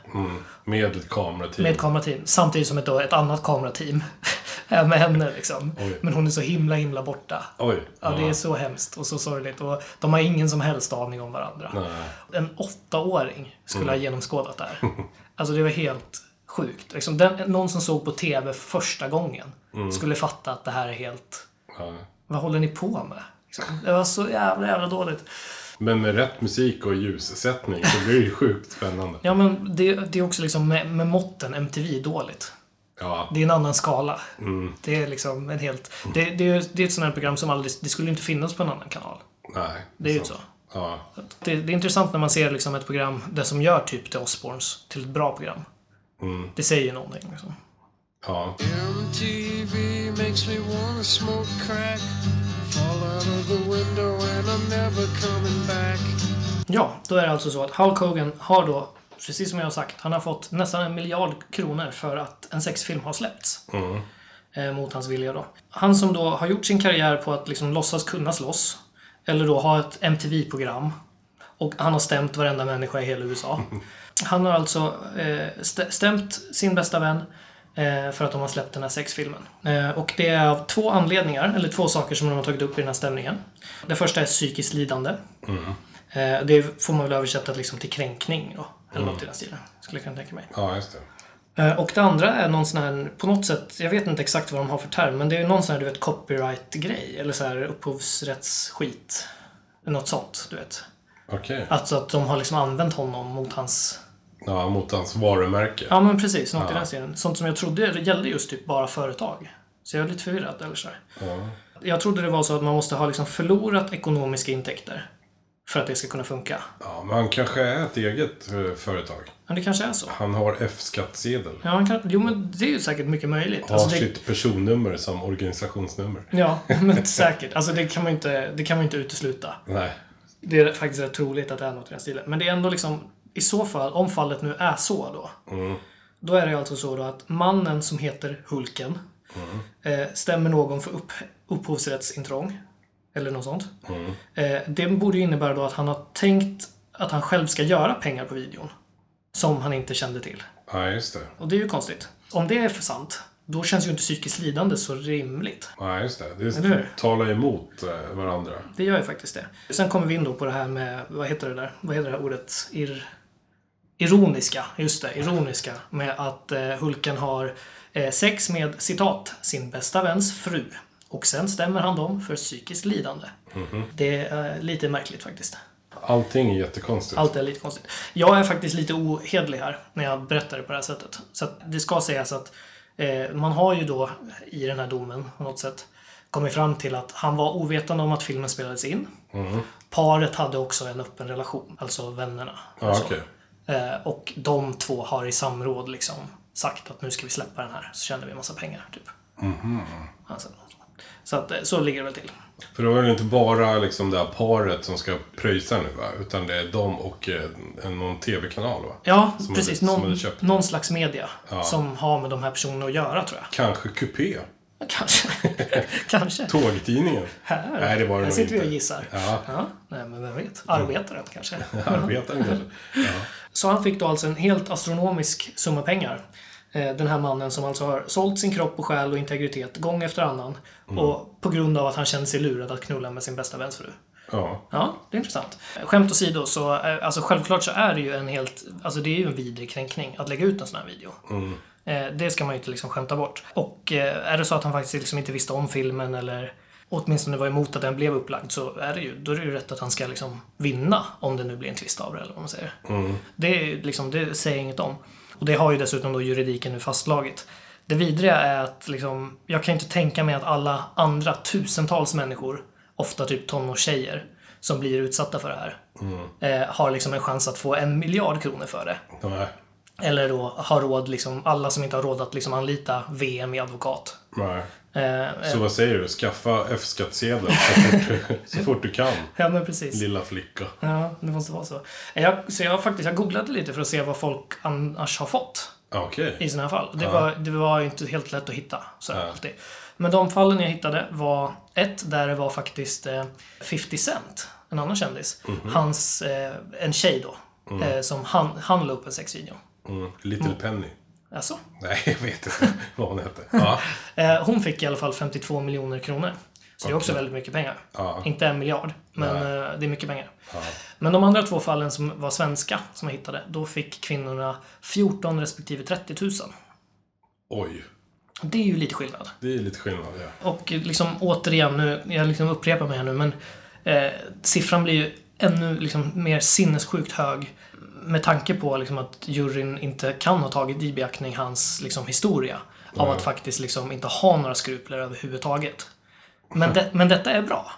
Med ett kamerateam. Med ett kamerateam. Samtidigt som ett, då, ett annat kamerateam är med henne liksom. Oj. Men hon är så himla, himla borta. Oj. Ja, det är så hemskt och så sorgligt. Och de har ingen som helst aning om varandra. Nej. En åttaåring skulle ha genomskådat det här. Alltså det var helt sjukt. Liksom, den, någon som såg på TV första gången skulle fatta att det här är helt... Ja. Vad håller ni på med? Liksom, det var så jävla, jävla dåligt. Men med rätt musik och ljussättning så blir det ju sjukt spännande. Ja, men det, det är också liksom med, med måtten MTV-dåligt. Ja. Det är en annan skala. Det är liksom en helt... Det, det, är, det är ett sånt här program som aldrig... Det skulle inte finnas på en annan kanal. Nej. Det är ju så. Ja. Det, det är intressant när man ser liksom ett program, det som gör typ The Osbournes till ett bra program. Det säger någonting. Liksom. Ja. MTV makes me wanna smoke crack. Fall out of the window and I'm never coming back. Ja, då är det alltså så att Hulk Hogan har då, precis som jag har sagt, han har fått nästan en miljard kronor för att en sexfilm har släppts. Eh, mot hans vilja då. Han som då har gjort sin karriär på att liksom låtsas kunna slåss, eller då ha ett MTV-program, och han har stämt varenda människa i hela USA. Han har alltså eh, stä- stämt sin bästa vän eh, för att de har släppt den här sexfilmen. Eh, och det är av två anledningar, eller två saker som de har tagit upp i den här stämningen. Det första är psykiskt lidande. Eh, det får man väl översätta liksom till kränkning då. Eller något i den stilen. Skulle jag kunna tänka mig. Ja, just det. Eh, och det andra är någon sån här, på något sätt, jag vet inte exakt vad de har för term, men det är ju någon sån här du vet copyright-grej. Eller så här upphovsrättsskit. Något sånt, du vet. Okej. Alltså att de har liksom använt honom mot hans... Ja, mot hans varumärke. Ja men precis, något i den stilen. Sånt som jag trodde gällde just typ bara företag. Så jag är lite förvirrad eller så. här. Jag trodde det var så att man måste ha liksom förlorat ekonomiska intäkter. För att det ska kunna funka. Ja, men han kanske är ett eget eh, företag. Men det kanske är så. Han har F-skattsedel. Ja, man kan, jo men det är ju säkert mycket möjligt. Har Alltså, det, sitt personnummer som organisationsnummer. ja, men säkert. Alltså det kan man ju inte, det kan man ju inte utesluta. Nej. Det är faktiskt rätt troligt att det är något i den stilen. Men det är ändå liksom, i så fall, om fallet nu är så då. Då är det alltså så då att mannen som heter Hulken eh, stämmer någon för upp, upphovsrättsintrång. Eller något sånt. Eh, det borde ju innebära då att han har tänkt att han själv ska göra pengar på videon. Som han inte kände till. Ja, just det. Och det är ju konstigt. Om det är för sant, då känns ju inte psykiskt lidande så rimligt. Ja, just det. Eller Det hur? talar emot eh, varandra. Det gör ju faktiskt det. Sen kommer vi in då på det här med, vad heter det där? Vad heter det här ordet? Ir... Ironiska, just det, ironiska. Med att eh, Hulken har eh, sex med, citat, sin bästa väns fru. Och sen stämmer han dem för psykiskt lidande. Det är eh, lite märkligt faktiskt. Allting är jättekonstigt. Allt är lite konstigt. Jag är faktiskt lite ohederlig här när jag berättar det på det här sättet. Så att det ska sägas att eh, man har ju då i den här domen på något sätt kommit fram till att han var ovetande om att filmen spelades in. Mm. Paret hade också en öppen relation, alltså vännerna. Ja, Alltså. okej. Eh, och de två har i samråd liksom sagt att nu ska vi släppa den här så tjänar vi en massa pengar. Typ. Mhm. Alltså, så att, eh, så ligger det väl till. För det var väl inte bara liksom det här paret som ska pröjsa nu, va? Utan det är de och eh, en- någon tv-kanal, va? Ja, Som precis. hade- som någon, hade köpt den. någon slags media som har med de här personerna att göra tror jag. Kanske Coupé? Kanske. kanske. Tågtidningen? Här, Nej, det var det här nog sitter vi inte. och gissar. Ja. Nej, men vem vet? Arbetaren kanske. Arbetaren kanske? Så han fick då alltså en helt astronomisk summa pengar. Eh, Den här mannen som alltså har sålt sin kropp och själ och integritet gång efter annan. Mm. Och på grund av att han kände sig lurad att knulla med sin bästa väns fru. Ja. Ja, det är intressant. Skämt åsido, så eh, alltså, självklart så är det ju en helt... Alltså det är ju en vidrig kränkning att lägga ut en sån här video. Eh, det ska man ju inte liksom skämta bort. Och eh, är det så att han faktiskt liksom inte visste om filmen eller åtminstone var emot att den blev upplagd så är det ju, då är det ju rätt att han ska liksom vinna om det nu blir en tvist av det eller vad man säger. Det, är ju liksom, det säger inget om. Och det har ju dessutom då juridiken nu fastslagit. Det vidriga är att liksom, jag kan ju inte tänka mig att alla andra tusentals människor, ofta typ tonårstjejer, som blir utsatta för det här, eh, har liksom en chans att få en miljard kronor för det. Nej. Eller då har råd, liksom, alla som inte har råd att liksom anlita VM i advokat. Nej. Eh, eh, Så vad säger du? Skaffa F-skattsedel så fort, du- så fort du kan, ja, men precis. lilla flicka. Ja, det måste vara så. Jag, så jag, faktiskt, jag googlade lite för att se vad folk annars har fått Ja, Okej. i sådana här fall. Det var, det var ju inte helt lätt att hitta. Så här, alltid. Men de fallen jag hittade var ett där det var faktiskt eh, 50 Cent, en annan kändis. Hans, eh, en tjej då, eh, som han, han la upp en sexvideo. Mm. Little Penny. Alltså, Nej, jag vet inte vad hon hette. Ja, eh, hon fick i alla fall 52 miljoner kronor. Så det är också väldigt mycket pengar. Inte en miljard, men eh, det är mycket pengar. Men de andra två fallen som var svenska, som jag hittade, då fick kvinnorna 14 respektive 30 000. oj. Det är ju lite skillnad. Det är lite skillnad, ja. Och liksom återigen, nu, jag liksom upprepar mig här nu, men eh, siffran blir ju ännu liksom, mer sinnessjukt hög med tanke på liksom, att juryn inte kan ha tagit i beaktning hans liksom, historia av att faktiskt liksom, inte ha några skrupler överhuvudtaget. Men, det, men detta är bra.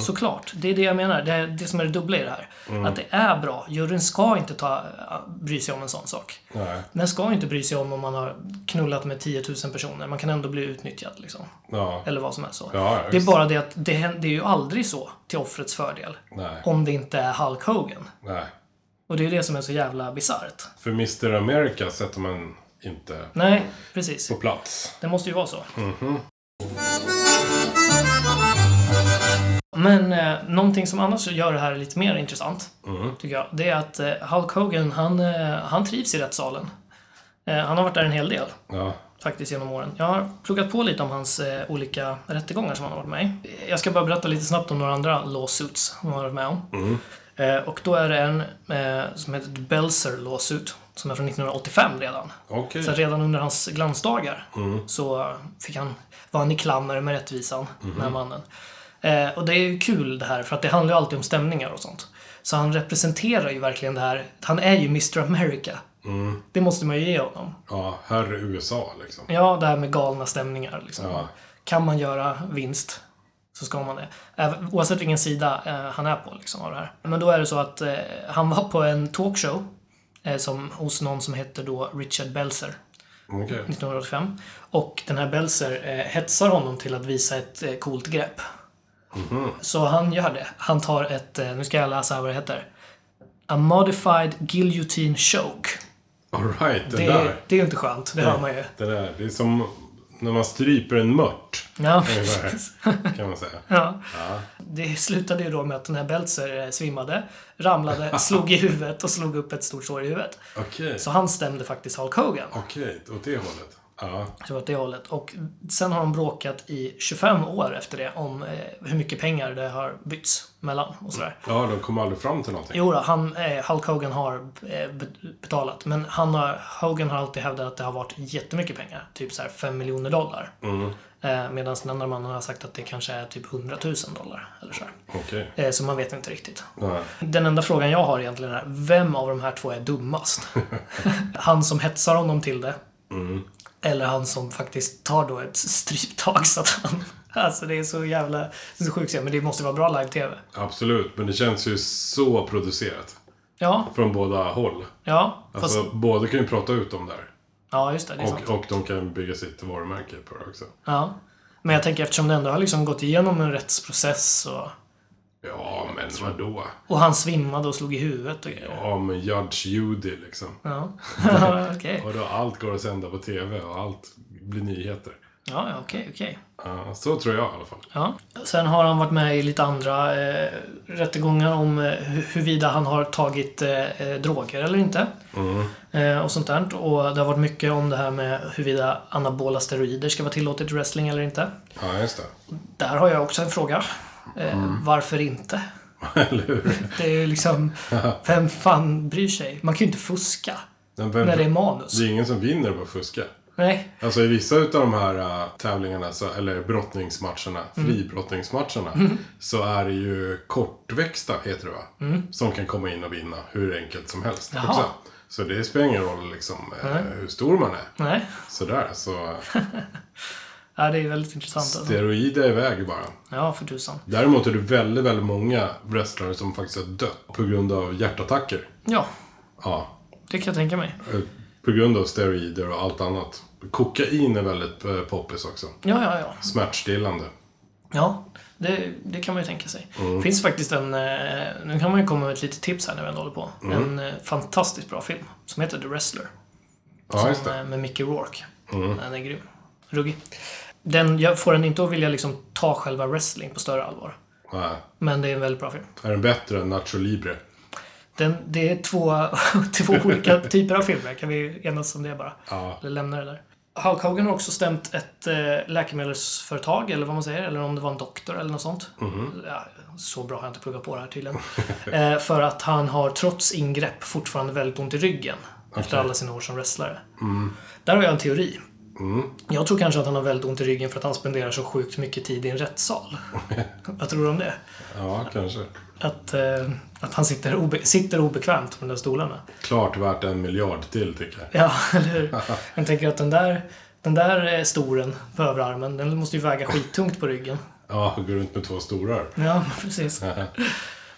Såklart. Det är det jag menar. Det är det som är det dubbla i det här. Att det är bra. Juryn ska inte ta, äh, bry sig om en sån sak. Nej. Den ska inte bry sig om om man har knullat med 10 000 personer. Man kan ändå bli utnyttjad. Liksom. Ja. Eller vad som är så. Ja, ja, det är visst. bara det att det, hän- det är ju aldrig så till offrets fördel. Nej. Om det inte är Hulk Hogan. Nej. Och det är det som är så jävla bisarrt. För Mr. America sätter man inte Nej, precis. på plats. Det måste ju vara så. Mhm. Men eh, någonting som annars gör det här lite mer intressant, Mhm. tycker jag, det är att eh, Hulk Hogan, han, eh, han trivs i rättssalen. Eh, han har varit där en hel del. Ja. faktiskt genom åren. Jag har pluggat på lite om hans eh, olika rättegångar som han har varit med i. Jag ska bara berätta lite snabbt om några andra lawsuits han har varit med om. Eh, och då är det en eh, som heter The Belzer lawsuit, som är från 1985 redan. Okej. Så redan under hans glansdagar så fick han, var han i klammer med rättvisan, den här mannen. Eh, och det är ju kul det här, för att det handlar ju alltid om stämningar och sånt. Så han representerar ju verkligen det här, han är ju Mr America. Det måste man ju ge honom. Ja, herr USA liksom. Ja, det här med galna stämningar. Liksom. Ja. Kan man göra vinst så ska man det. Även, oavsett vilken sida eh, han är på. Liksom, av det här. Men då är det så att eh, han var på en talkshow eh, som, hos någon som hette då Richard Belzer Okej. Mm. 1985. Och den här Belzer eh, hetsar honom till att visa ett eh, coolt grepp. Mhm. Så han gör det. Han tar ett, eh, nu ska jag läsa här vad det heter. A modified guillotine choke. Alright, den Det, där. det är ju inte skönt, det hör man ju. Det där. Det är som när man stryper en mört. Ja, Ungefär, precis. Kan man säga. Ja. Det slutade ju då med att den här Belzer eh, svimmade, ramlade, slog i huvudet och slog upp ett stort sår i huvudet. Okej. Så han stämde faktiskt Hulk Hogan. Okej, åt det hållet. Ja. Så åt det hållet. Och sen har de bråkat i 25 år efter det om eh, hur mycket pengar det har bytts mellan och sådär. Ja, de kom aldrig fram till någonting. Jo då, han, eh, Hulk Hogan har eh, be- betalat. Men han har, Hogan har alltid hävdat att det har varit jättemycket pengar. Typ så här 5 miljoner dollar. Eh, Medan den andra mannen har sagt att det kanske är typ 100 000 dollar. Eller så här. Okej. Eh, Så man vet inte riktigt. Nej. Den enda frågan jag har egentligen är, vem av de här två är dummast? han som hetsar honom till det. Mm. Eller han som faktiskt tar då ett stryptag så att han... Alltså det är så jävla... Det är så sjukt men det måste vara bra live-tv. Absolut, men det känns ju så producerat. Ja, Från båda håll. ja. Fast, Alltså, båda kan ju prata ut om det här. ja, just det. Det är sant. Och, och de kan bygga sitt varumärke på det också. Ja. Men jag tänker eftersom det ändå har liksom gått igenom en rättsprocess och... Ja, men vadå? Och han svimmade och slog i huvudet och grejer. Ja, men Judge Judy liksom. Ja. okej. Och då allt går att sända på TV och allt blir nyheter. Ja, ja, okej, okej. Ja, så tror jag i alla fall. Ja. Sen har han varit med i lite andra eh, rättegångar om eh, hu- huruvida han har tagit eh, eh, droger eller inte. Eh, och sånt där. Och det har varit mycket om det här med huruvida anabola steroider ska vara tillåtet i wrestling eller inte. Ja, just det. Där har jag också en fråga. Eh, Varför inte? Eller hur? Det är ju liksom, vem fan bryr sig? Man kan ju inte fuska Men vem, när det är manus. det är ingen som vinner på att fuska. Nej, Alltså i vissa utav de här äh, tävlingarna, så, eller brottningsmatcherna, Mm. fribrottningsmatcherna, så är det ju kortväxta, heter det va? Som kan komma in och vinna hur enkelt som helst. Mm. Jaha. Också. Så det spelar ingen roll liksom, eh, hur stor man är. nej. Sådär, så Ja, det är väldigt intressant alltså. steroider iväg bara. Ja, för tusan. Däremot är det väldigt, väldigt många wrestlare som faktiskt har dött på grund av hjärtattacker. Ja, Ja, det kan jag tänka mig. eh, På grund av steroider och allt annat. Kokain är väldigt eh, poppis också. Ja, ja, ja. Smärtstillande. Ja, det, det kan man ju tänka sig. Mm. finns faktiskt en, eh, nu kan man ju komma med ett litet tips här när vi ändå håller på. Mm. En eh, fantastiskt bra film som heter The Wrestler. eh, Ja, just det. Mm. Med, med Mickey Rourke. Den är grym. Ruggig. Den jag får den inte att vilja liksom ta själva wrestling på större allvar. Nej. Men det är en väldigt bra film. Är den bättre än Nacho Libre? Den, det är två, två olika typer av filmer. Kan vi enas om det bara? Ja. Eller lämna det där. Hulk Hogan har också stämt ett eh, läkemedelsföretag, eller vad man säger, eller om det var en doktor eller något sånt. Ja, så bra har jag inte pluggat på det här tydligen. eh, för att han har trots ingrepp fortfarande väldigt ont i ryggen. Efter alla sina år som wrestlare. Där har jag en teori. Jag tror kanske att han har väldigt ont i ryggen för att han spenderar så sjukt mycket tid i en rättssal. vad tror du om det? Ja, kanske. Att, eh, att han sitter, obe- sitter obekvämt på de där stolarna. Klart värt en miljard till, tycker jag. Ja, eller hur? Jag tänker att den där, den där eh, storen på överarmen, den måste ju väga skittungt på ryggen. Ja, går runt med två storar. Ja, precis.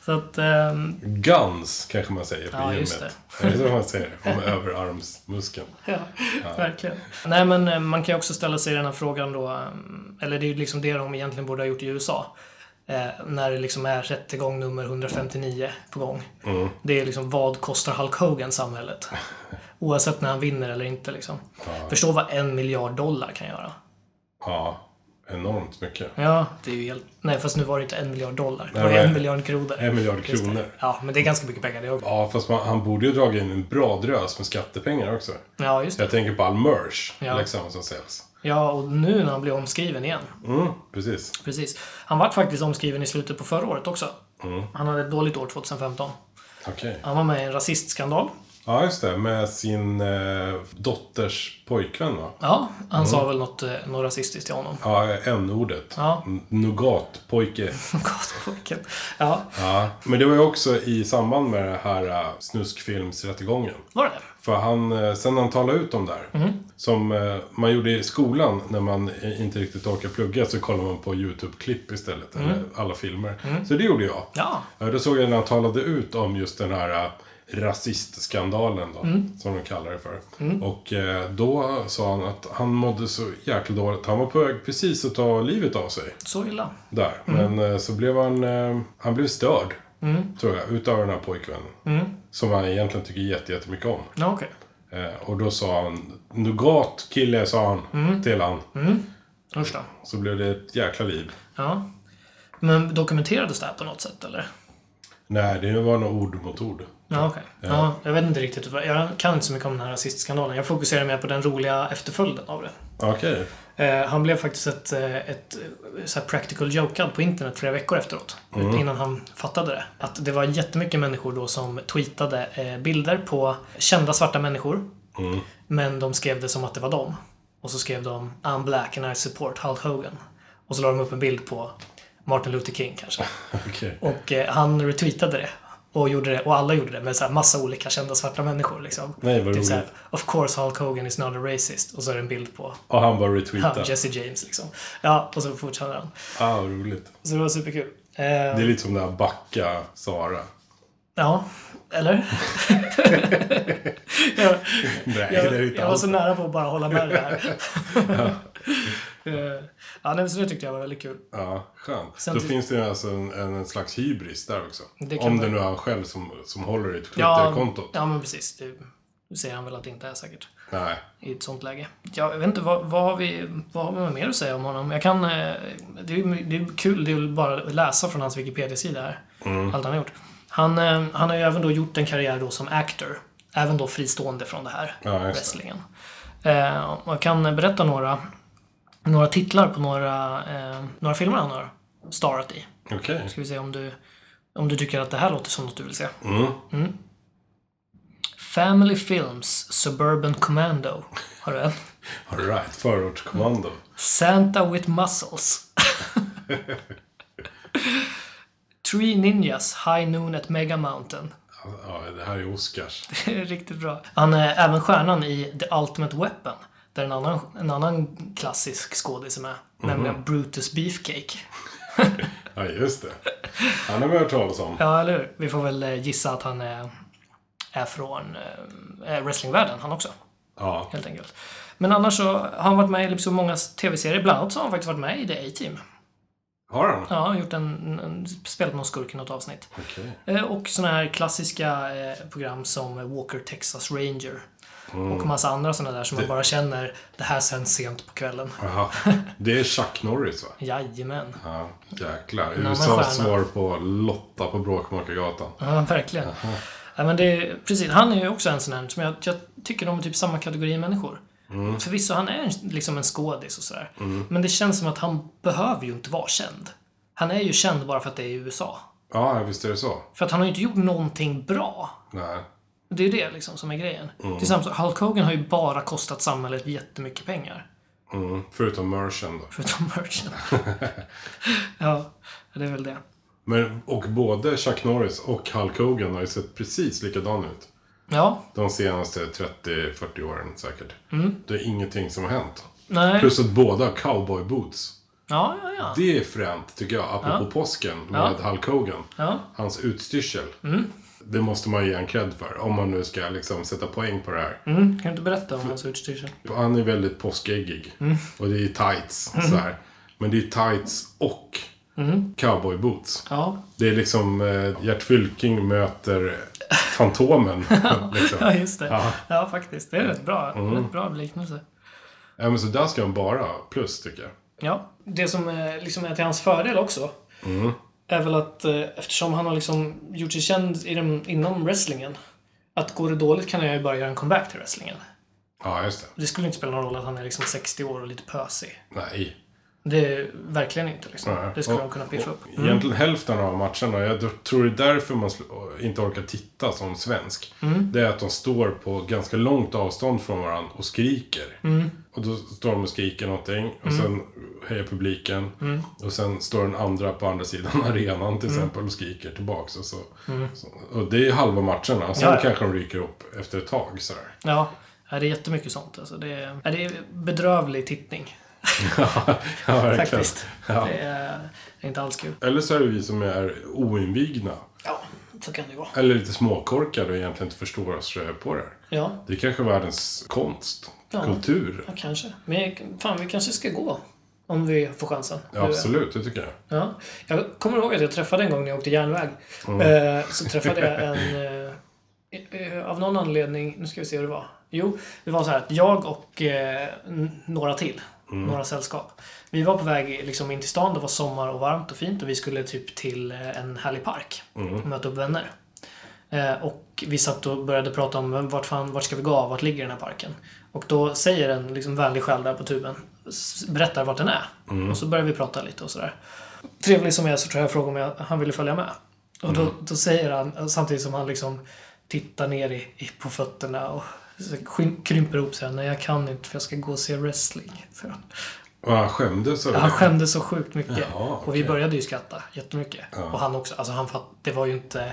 Så att, ehm, Guns, kanske man säger på Ja, gymmet. just Just det. Är det så man säger? Om överarmsmuskeln. ja, verkligen. Nej, men eh, man kan ju också ställa sig den här frågan då, ehm, eller det är ju liksom det de egentligen borde ha gjort i USA. Eh, när det liksom är rättegång nummer 159 på gång. Mm. Det är liksom, vad kostar Hulk Hogan samhället? Oavsett när han vinner eller inte liksom. Förstå vad en miljard dollar kan göra. Ja, enormt mycket. Ja, det är ju helt... Nej, fast nu var det inte en miljard dollar. Det Nej, var men- en miljard kronor. En miljard Just det. kronor. Ja, men det är ganska mycket pengar det också. Ja, fast man, han borde ju dra in en bra drös med skattepengar också. Ja, just det. Jag tänker på all merch, Ja. liksom, som säljs. Ja, och nu när han blir omskriven igen. Mm, precis. Precis. Han var faktiskt omskriven i slutet på förra året också. Han hade ett dåligt år 2015. Okej. Han var med i en rasistskandal. Ja, just det. Med sin eh, dotters pojkvän, va? Ja, han sa väl något, eh, något rasistiskt till honom. Ja, n-ordet. Ja. N- Nougat-pojke. Gott pojken. Ja, Ja. Men det var ju också i samband med den här eh, snuskfilmsrättegången. var det det? För han, eh, sen han talade ut om det här, som eh, man gjorde i skolan när man eh, inte riktigt orkar plugga, så kollar man på YouTube-klipp istället, eller alla filmer. Så det gjorde jag. Ja. Ja, Då såg jag när han talade ut om just den här eh, rasistskandalen då, som de kallar det för. Och eh, då sa han att han mådde så jäkla dåligt. Han var på väg precis att ta livet av sig Så illa. där. Men eh, så blev han, eh, han blev störd, tror jag, utav den här pojkvännen. Som han egentligen tycker jätte, jättemycket om. Ja, okej. Eh, Och då sa han, Nougat kille, sa han Mm. till han. Usch då. Så blev det ett jäkla liv. Ja. Men dokumenterades det här på något sätt, eller? Nej, det var nog ord mot ord. Ja, okej. Ja, jag vet inte riktigt. vad- Jag kan inte så mycket om den här rasistskandalen. Jag fokuserar mer på den roliga efterföljden av det. Okej. Eh, han blev faktiskt ett, eh, ett eh, så här practical jokad på internet flera veckor efteråt. Mm. Innan han fattade det. Att det var jättemycket människor då som tweetade eh, bilder på kända svarta människor. Mm. Men de skrev det som att det var dem. Och så skrev de I'm black and I support Hulk Hogan. Och så la de upp en bild på Martin Luther King kanske. Okej. Och eh, han retweetade det. Och gjorde det, och alla gjorde det med så här massa olika kända svarta människor liksom. Nej, vad typ så här, roligt. Of course Hulk Hogan is not a racist. Och så är det en bild på Och han bara han, retweetade. Jesse James liksom. Ja, och så fortsatte han. Ah, vad roligt. Så det var superkul. Det Eh, är lite som den här Backa Sara. Ja, eller? jag, Nej, det är jag, inte jag var alls. så nära på att bara hålla med det där. Eh, ja, nej, men så det tyckte jag var väldigt kul. Ja, skönt. Sen Då till- finns det ju alltså en, en, en slags hybris där också. Det kan Om man- det nu är han själv som, som håller i Ja, Twitterkontot. ja, men precis. Det säger han väl att det inte är säkert. Nej. i ett sånt läge. Ja, Jag vet inte, vad, vad, har vi, vad har man mer att säga om honom? Jag kan, eh, det, är, ju- det är kul, det är väl bara att läsa från hans Wikipedia-sida här. Mm. Allt han har gjort. Han, eh, han har ju även då gjort en karriär då som actor. Även då fristående från det här, Ja, just det. wrestlingen. Eh, och jag kan berätta några, några titlar på några, eh, några filmer han har starrat i. Okej. Ska vi se om du, om du tycker att det här låter som något du vill se. Mm. Family Films Suburban Commando. Har du en? Alright. Förortskommando. Santa with Muscles. Three Ninjas High Noon at Mega Mountain. Ja, det här är Oscars. Det är Riktigt bra. Han är även stjärnan i The Ultimate Weapon. Där en annan, en annan klassisk skådis är med. Nämligen Brutus Beefcake. Ja, just det. Han har vi hört talas om. Ja, eller hur? Vi får väl eh, gissa att han är, är från eh, wrestlingvärlden han också. Ja. helt enkelt. Men annars så har han varit med i liksom många tv-serier. Bland annat så har han faktiskt varit med i The A-Team. Har han? Ja, han har gjort en, en, spelat någon skurk i något avsnitt. Okej. Eh, Och sådana här klassiska eh, program som Walker Texas Ranger. Och massa andra sådana där som man bara känner, det här sänds sent på kvällen. Aha. Det är Chuck Norris va? Jajamän. Ja, jäklar. men USAs stjärna. svar på Lotta på Bråkmakargatan. Ja, verkligen. Ja, men det är, precis, han är ju också en sån här som jag, jag tycker de är typ samma kategori människor. Förvisso, han är en- liksom en skådis och sådär. Men det känns som att han behöver ju inte vara känd. Han är ju känd bara för att det är i USA. Ja, visst är det så. För att han har ju inte gjort någonting bra. Nej. Det är ju det liksom som är grejen. Tillsammans, Hulk Hogan har ju bara kostat samhället jättemycket pengar. Mm. Förutom Merchant då. Förutom merchen. ja, det är väl det. Men, och både Chuck Norris och Hulk Hogan har ju sett precis likadan ut. Ja, De senaste 30-40 åren säkert. Det är ingenting som har hänt. Mm. nej. Plus att båda har cowboy boots. Ja, ja, ja. Det är fränt tycker jag, apropå påsken med Hulk Hogan. Ja. Mm. Hans utstyrsel. Det måste man ge en cred för, om man nu ska liksom sätta poäng på det här. Mm, kan du inte berätta om hans utstyrsel? Han är väldigt påskäggig. Och det är tights. Så här. Men det är tights och cowboy boots. Ja, Det är liksom eh, Gert Fylking möter Fantomen. liksom. Ja, just det. Ja, Ja. Mm. faktiskt. Det är rätt bra, rätt bra liknelse. ja, men så där ska han bara ha plus tycker jag. Ja. Det som eh, liksom är till hans fördel också Mm. är väl att eh, eftersom han har liksom gjort sig känd i den, inom wrestlingen att går det dåligt kan han ju bara göra en comeback till wrestlingen. Ja, just det. Det skulle inte spela någon roll att han är liksom 60 år och lite pösig. Nej. Det är verkligen inte liksom. Nej. Det skulle Och- de kunna piffa upp. Egentligen hälften av matcherna, jag tror det är därför man sl- inte orkar titta som svensk. Mm. Det är att de står på ganska långt avstånd från varandra och skriker. Mm. Och då står de och skriker någonting och sen hejar publiken. Mm. Och sen står den andra på andra sidan arenan till exempel och skriker tillbaks. Och, så. Så, och det är halva matcherna. Sen Mm. Ja, ja. kanske de ryker upp efter ett tag. Så här. Ja, ja, det är jättemycket sånt alltså. Det är, ja, det är bedrövlig tittning ja, verkligen. faktiskt. Ja. Det, är, det är inte alls kul. Eller så är det vi som är oinvigna. Ja, så kan det ju vara. Eller lite småkorkade och egentligen inte förstår oss på det här. Ja. Det är kanske världens konst, Ja. kultur. Ja, kanske. Men jag- fan, vi kanske ska gå. Om vi får chansen. Ja, absolut, det tycker jag. Ja. Jag kommer ihåg att jag träffade en gång när jag åkte järnväg. Eh, så träffade jag en... Eh, eh, av någon anledning, nu ska vi se hur det var. Jo, det var så här att jag och eh, n- några till, några sällskap. Vi var på väg liksom, in till stan, det var sommar och varmt och fint och vi skulle typ till eh, en härlig park och möta upp vänner. Eh, och vi satt och började prata om "Men vart, fan, vart ska vi gå av, vart ligger den här parken? Och då säger en liksom, vänlig själ där på tuben, s- berättar vart den är. Och så börjar vi prata lite och sådär. Trevlig som jag är så tror jag jag frågar om jag, han ville följa med. Och Mm. då, då säger han, samtidigt som han liksom tittar ner i, i, på fötterna och så skym- krymper ihop sig, nej jag kan inte för jag ska gå och se wrestling. Så han. Och han skämdes över Han det. skämdes så sjukt mycket. Jaha, Och vi okej. började ju skratta jättemycket. Och han också. Alltså han fatt, det var ju inte...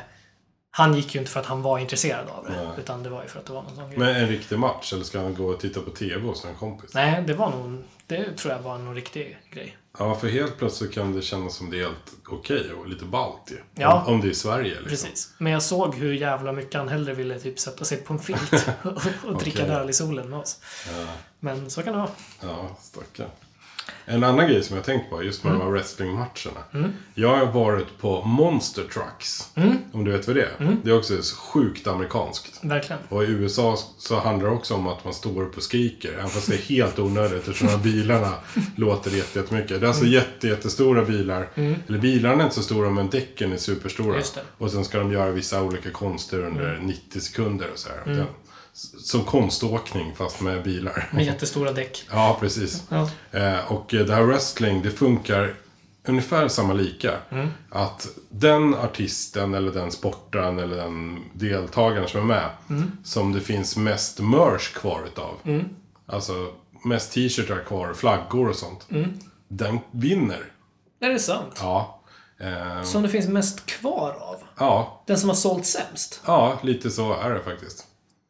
Han gick ju inte för att han var intresserad av det. Utan det var ju för att det var någon sån grej. Men en riktig match, eller ska han gå och titta på TV hos en kompis? Nej, det var nog... Det tror jag var någon riktig grej. Ja, för helt plötsligt kan det kännas som det är helt okej och lite ballt ju. Ja. Om, om det är Sverige liksom. Precis. Men jag såg hur jävla mycket han hellre ville typ sätta sig på en filt och, och dricka en Okej. öl i solen med oss. Men så kan det vara. Ja, stackarn. En annan grej som jag tänkt på, just med Mm. de här wrestlingmatcherna. Jag har varit på Monster Trucks. Mm. Om du vet vad det är. Det är också så sjukt amerikanskt. Verkligen. Och i USA så handlar det också om att man står upp och skriker. Även fast det är helt onödigt eftersom de här bilarna låter jätte- jättemycket. Det är alltså Mm. jätte, jättestora bilar. Eller bilarna är inte så stora men däcken är superstora. Just det. Mm. Och sen ska de göra vissa olika konster under 90 sekunder och så här. Det- Som konståkning fast med bilar. Med jättestora däck. Ja, precis. Ja. Eh, och eh, det här wrestling, det funkar ungefär samma lika. Mm. Att den artisten eller den sportaren eller den deltagaren som är med, Mm. som det finns mest merch kvar utav. Alltså mest t-shirtar kvar, flaggor och sånt. Mm. Den vinner. Är det sant? Ja. Eh, Som det finns mest kvar av. ja. Den som har sålt sämst. Ja, lite så är det faktiskt.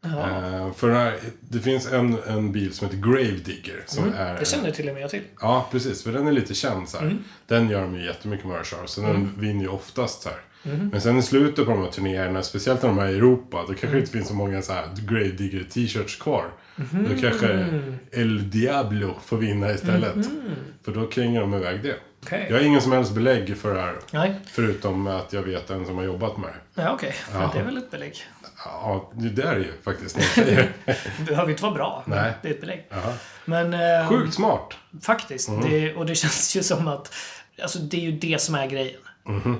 Eh, för den här, det finns en, en bil som heter Gravedigger. Som är, Mm. Det känner till och med jag till. Ja, precis. För den är lite känd så här. Den gör de ju jättemycket merchar, så den vinner ju oftast så här. Men sen i slutet på de här turnéerna, speciellt när de är i Europa, då kanske det inte finns så många så här Gravedigger t-shirts kvar. Då kanske El Diablo får vinna istället. För då kränger de iväg det. Okej. Jag har ingen som helst belägg för det här. Nej, Förutom att jag vet en som har jobbat med det. ja, okej. Men Det är väl ett belägg. Ja, det är det ju faktiskt. när jag säger. Det behöver inte vara bra. men Nej. Det är ett belägg. Ja. Men... ehm, Sjukt smart. Faktiskt. Mm. Det, och det känns ju som att alltså, det är ju det som är grejen.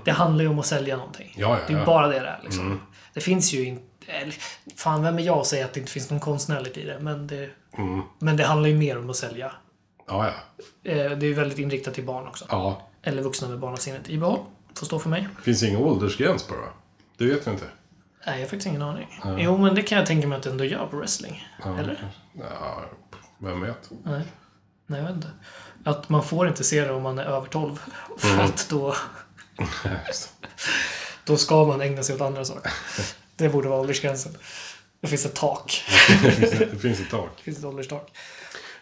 Det handlar ju om att sälja någonting. Mm-hmm. Ja, Mm. ja, det är ju ja. bara det där liksom. Det finns ju inte... eller, Fan, vem är jag att säga att det inte finns någon konstnärligt i det? Men det, Mm. men det handlar ju mer om att sälja. Ja, ja. Eh, Det är ju väldigt inriktat till barn också. ja. Eller vuxna med barnasinnet i behåll. Får stå för mig. Finns ingen åldersgräns på det va? Det vet vi inte. Nej, jag har faktiskt ingen aning. Jo, men det kan jag tänka mig att det ändå gör på wrestling. Eller? Ja, vem vet. Nej. Nej, jag vet inte. Att man får inte se det om man är över 12. För Mm. att då... Då ska man ägna sig åt andra saker. Det borde vara åldersgränsen. Det finns ett tak. Det finns ett- det finns ett tak. Det finns ett ålderstak.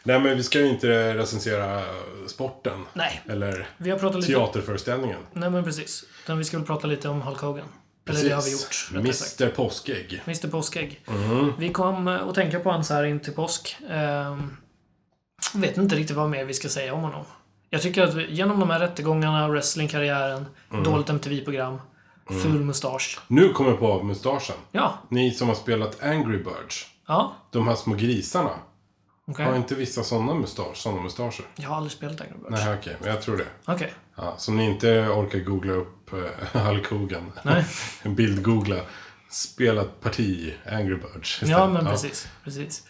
Nej, men vi ska ju inte recensera sporten. Nej. Eller Vi har pratat lite... teaterföreställningen. Nej, men precis. Utan vi ska väl prata lite om Hulk Hogan. Eller det har vi gjort, rättare sagt. Mr Påskägg. Mr Påskägg. Mm-hmm. Vi kom eh, att tänka på honom så här in till påsk. Ehm, vet inte riktigt vad mer vi ska säga om honom. Jag tycker att vi- genom de här rättegångarna, wrestlingkarriären, Mm-hmm. dåligt MTV-program, Mm. ful mustasch. Nu kommer jag på mustaschen. Ja, Ni som har spelat Angry Birds. ja, De här små grisarna. okej. Har inte vissa sådana mustasch, såna mustascher? Jag har aldrig spelat Angry Birds. Nej, okej. Men jag tror det. Okej. Ja, så om ni inte orkar googla upp eh, Hulk Hogan. Nej. Bildgoogla. Spelat parti Angry Birds. istället. Ja, men precis. precis.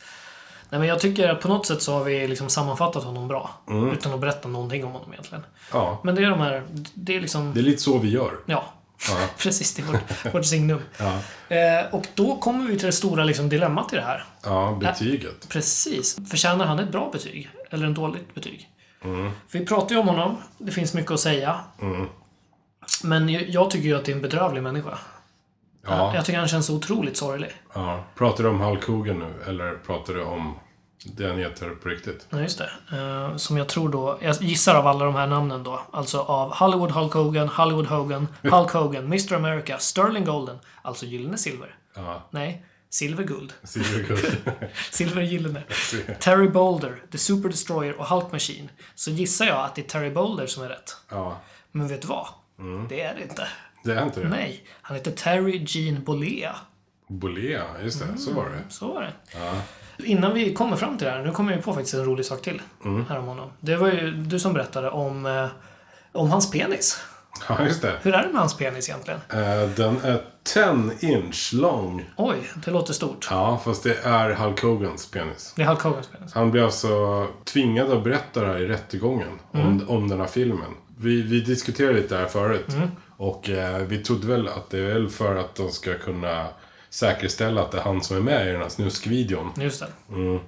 Nej, men jag tycker att på något sätt så har vi liksom sammanfattat honom bra. Mm. Utan att berätta någonting om honom egentligen. Ja. Men det är de här, det är liksom... Det är lite så vi gör. Ja, Ja. precis. Det är vårt, vårt signum. Ja. Eh, och då kommer vi till det stora liksom, dilemmat i det här. Ja, betyget. Precis. Förtjänar han ett bra betyg? Eller ett dåligt betyg? Mm. Vi pratar ju om honom. Det finns mycket att säga. Men jag, jag tycker ju att det är en bedrövlig människa. Ja. Jag tycker han känns otroligt sorglig. Ja. Pratar du om Hulk Hogan nu eller pratar du om det han heter på riktigt? Ja, just det. Eh, som jag tror då... Jag gissar av alla de här namnen då. Alltså av Hollywood Hulk Hogan, Hollywood Hogan, Hulk Hogan, Mr America, Sterling Golden. Alltså Gyllene Silver. Ja, Nej, Silverguld. Silverguld. Silver Gyllene. Terry Boulder, The Super Destroyer och Hulk Machine. Så gissar jag att det är Terry Boulder som är rätt. Ja, Men vet du vad? Det är det inte. det är inte det. Nej, han heter Terry Jean Bolea. Bolea, just det. Så var det. Så var det. Innan vi kommer fram till det här, nu kommer jag ju på faktiskt en rolig sak till. Mm. Här om honom. Det var ju du som berättade om, eh, om hans penis. Ja, just det. Hur är det med hans penis egentligen? Eh, Den är 10 inch lång. Oj, det låter stort. Ja, fast det är Hulk Hogans penis. Det är Hulk Hogans penis. Han blev alltså tvingad att berätta det här i rättegången om, om den här filmen. Vi, vi diskuterade lite det här förut. Och eh, vi trodde väl att det är väl för att de ska kunna säkerställa att det är han som är med i den här snuskvideon. Just det. Mm.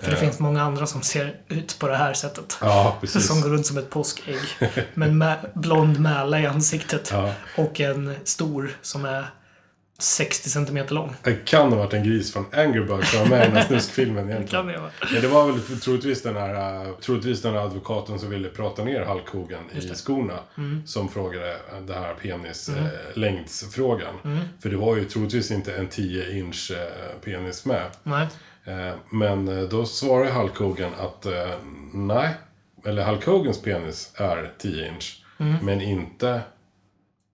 För det finns många andra som ser ut på det här sättet. Eh. Ja, precis. Som går runt som ett påskägg. Men med blond mäla i ansiktet. Ja. Och en stor som är 60 centimeter lång. Det kan ha varit en gris från Angry Birds som var med i den här snuskfilmen Kan egentligen. det vara. Men det var väl för- troligtvis den, här, eh, troligtvis den här advokaten som ville prata ner Hulk Hogan i skorna. Mm. Som frågade eh, det här penislängdsfrågan. Mm. För det var ju troligtvis inte en 10 inch eh, penis med. Nej. Eh, Men eh, då svarade Hulk Hogan att eh, nej. Eller Hulk Hogans penis är 10 inch. Mm. Men inte,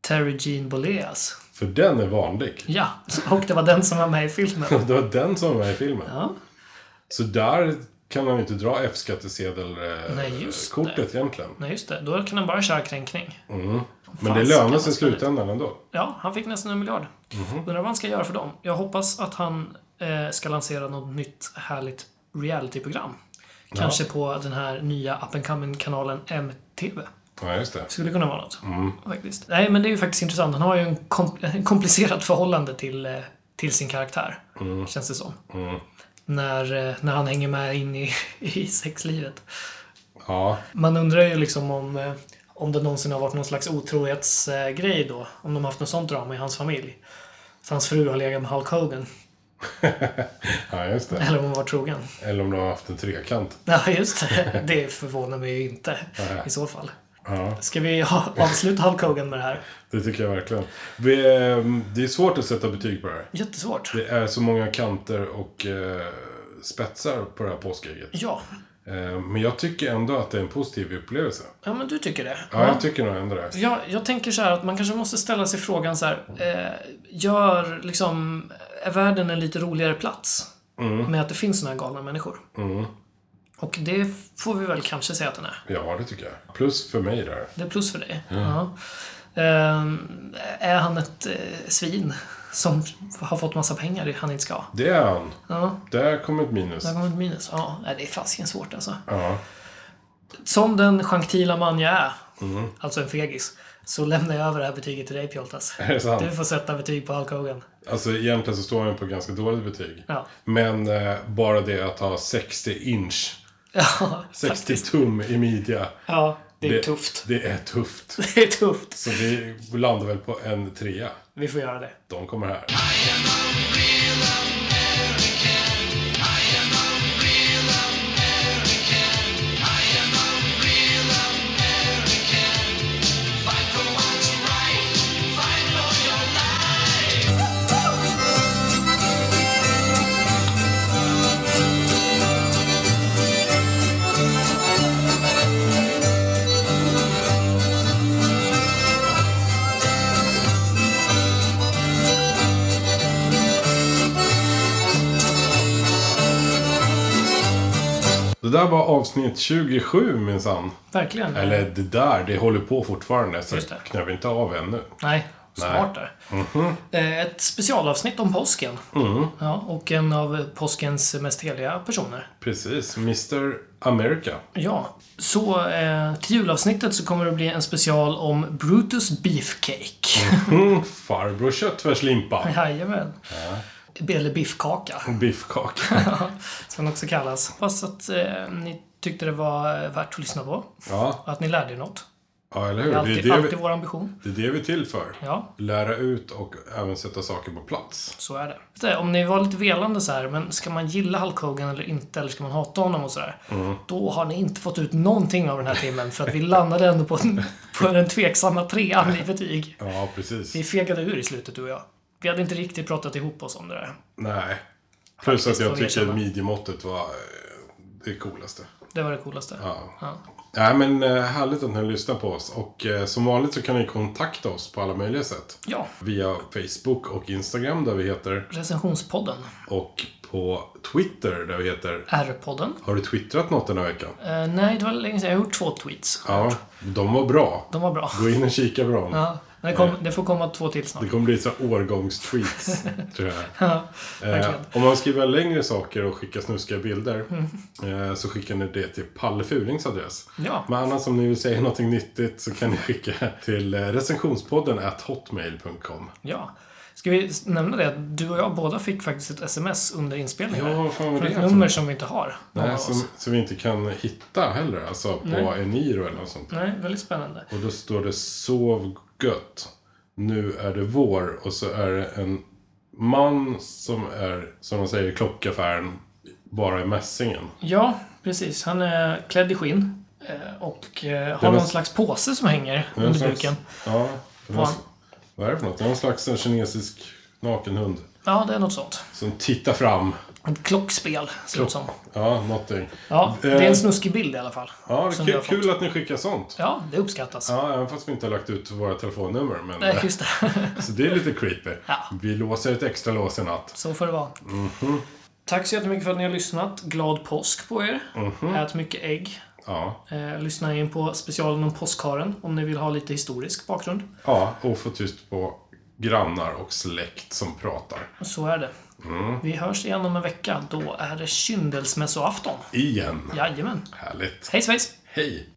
Terry Jean Boleas. för den är vanlig. Ja, och det var den som var med i filmen. Det var den som var med i filmen. Ja. Så där kan man ju inte dra F-skattesedel-kortet Nej, just egentligen. Nej, just det. Då kan han bara köra kränkning. Mm. Men Fan, det så kan lönar man sig i spela ut. slutändan Mhm. ändå. Ja, han fick nästan en miljard. Undrar vad han ska göra för dem. Jag hoppas att han eh, ska lansera något nytt härligt realityprogram. Kanske på den här nya up and coming-kanalen MTV. Ja, just det. Skulle kunna vara något. Mm. Faktiskt. Nej, men det är ju faktiskt intressant. Han har ju en kom- en komplicerat förhållande till, eh, till sin karaktär. Mm. Känns det som. När, eh, när han hänger med in i, i sexlivet. Ja, Man undrar ju liksom om, eh, om det någonsin har varit någon slags otrohetsgrej då. Om de har haft något sånt drama i hans familj. Så hans fru har legat med Hulk Hogan. Ja, just det. Eller om hon var trogen. Eller om de har haft en trekant. Ja, just det. Det förvånar mig ju inte i så fall. Ja, Ska vi ha- avsluta Hulk Hogan med det här? det tycker jag verkligen. Vi, ehm, Det är svårt att sätta betyg på det här. Jättesvårt. Det är så många kanter och eh, spetsar på det här påskägget. Ja. Eh, Men jag tycker ändå att det är en positiv upplevelse. ja, men du tycker det. Ja, jag tycker nog ändå det. Jag, jag tänker så här att man kanske måste ställa sig frågan så här. Eh, gör liksom, är världen en lite roligare plats? Med att det finns såna här galna människor. Och det får vi väl kanske säga att den är. Ja, det tycker jag. Plus för mig där. Det är plus för dig. Ja. Ehm, är han ett eh, svin som har fått massa pengar han inte ska ha? Det är han. Ja, Där kommer ett minus. där kommer ett minus. Ja, nej, det är fasiken svårt alltså. Ja, Som den gentila man jag är, alltså en fegis, så lämnar jag över det här betyget till dig Pjoltas. är det sant? Du får sätta betyg på Hulk Hogan. Alltså egentligen så står han på ganska dåligt betyg. Ja. Men eh, bara det att ha 60 inch, Ja, 60 tum i midja. ja det är tufft. Det är tufft. Det är tufft. Så vi landar väl på en trea. Vi får göra det. De kommer här. Det där var avsnitt 27 minsann. Verkligen. Eller det där, det håller på fortfarande. Så Just det. knäpper vi inte av ännu. Nej, smart där. Mhm. Eh, Ett specialavsnitt om påsken. Ja, och en av påskens mest heliga personer. Precis. Mr America. Ja, så eh, till julavsnittet så kommer det bli en special om Brutus Beefcake. Mm, farbror köttfärslimpa. Jajamän. Eller biffkaka, Biffkaka. som den också kallas. Fast att eh, ni tyckte det var eh, värt att lyssna på. Ja, Att ni lärde er något. ja eller hur? Det är Det alltid, är det, alltid vi, vår ambition. det är det vi är till för. Ja, Lära ut och även sätta saker på plats. så är det. det. Om ni var lite velande så här, men ska man gilla Hulk Hogan eller inte, eller ska man hata honom och sådär. Mm. Då har ni inte fått ut någonting av den här timmen, för att vi landade ändå på, en, på den tveksamma trean i betyg. Ja, Vi precis. fegade ur i slutet, du och jag. Vi hade inte riktigt pratat ihop oss om det där. Nej. Plus att får jag vi tycker erkänna. midjemåttet var eh, det coolaste. Det var det coolaste. Ja. Ja. Nej, men eh, härligt att ni lyssnar på oss. Och eh, som vanligt så kan ni kontakta oss på alla möjliga sätt. ja. Via Facebook och Instagram där vi heter. Recensionspodden, Och på Twitter där vi heter. R-podden. Har du twittrat något den här veckan? Eh, nej, det var länge sedan. Jag har gjort två tweets. Ja, de var bra. De var bra. Gå in och kika på dem. Ja. Men det, kom, det får komma två till snart. Det kommer bli så här årgångstweets, tror jag. Ja, Eh, verkligen. om man skriver längre saker och skickar snuskiga bilder eh, så skickar ni det till Palle Fulings adress. Mm. Ja. Men annars om ni vill säga någonting nyttigt så kan ni skicka till eh, recensionspodden at hotmail.com. ja. Ska vi s- nämna det att du och jag båda fick faktiskt ett sms under inspelningen. Ja, vad fan var Från det? ett för nummer som vi inte har. någon av Nej, oss. som, som vi inte kan hitta heller, alltså på Eniro eller något sånt. nej, väldigt spännande. Och då står det sov gött. Nu är det vår och så är det en man som är, som de säger, i klockaffären bara i mässingen. Ja, precis. Han är klädd i skinn. eh, Och eh, Det har var- någon slags påse som hänger Det är en under slags- buken. Ja. det var- Fan. Vad är det för något? Det är en slags en kinesisk nakenhund. Ja, det är något sånt. Som tittar fram. Ett klockspel, ser det ut som. Ja, någonting. Ja, det är Eh, en snuskig bild i alla fall. Ja, som det vi är har kul fått. att ni skickar sånt. Ja, det uppskattas. Ja, även fast vi inte har lagt ut våra telefonnummer. Men, eh, Nej, just det. så det är lite creepy. Ja. Vi låser ett extra lås i natt. Så får det vara. Mhm. Tack så jättemycket för att ni har lyssnat. Glad påsk på er. Mhm. Ät mycket ägg. Ja. Eh, lyssna in på specialen om påskharen om ni vill ha lite historisk bakgrund. ja, och få tyst på grannar och släkt som pratar. Och Så är det. Vi hörs igen om en vecka. Då är det kyndelsmässoafton. Igen. Jajamän. Härligt. Hej svejs! Hej.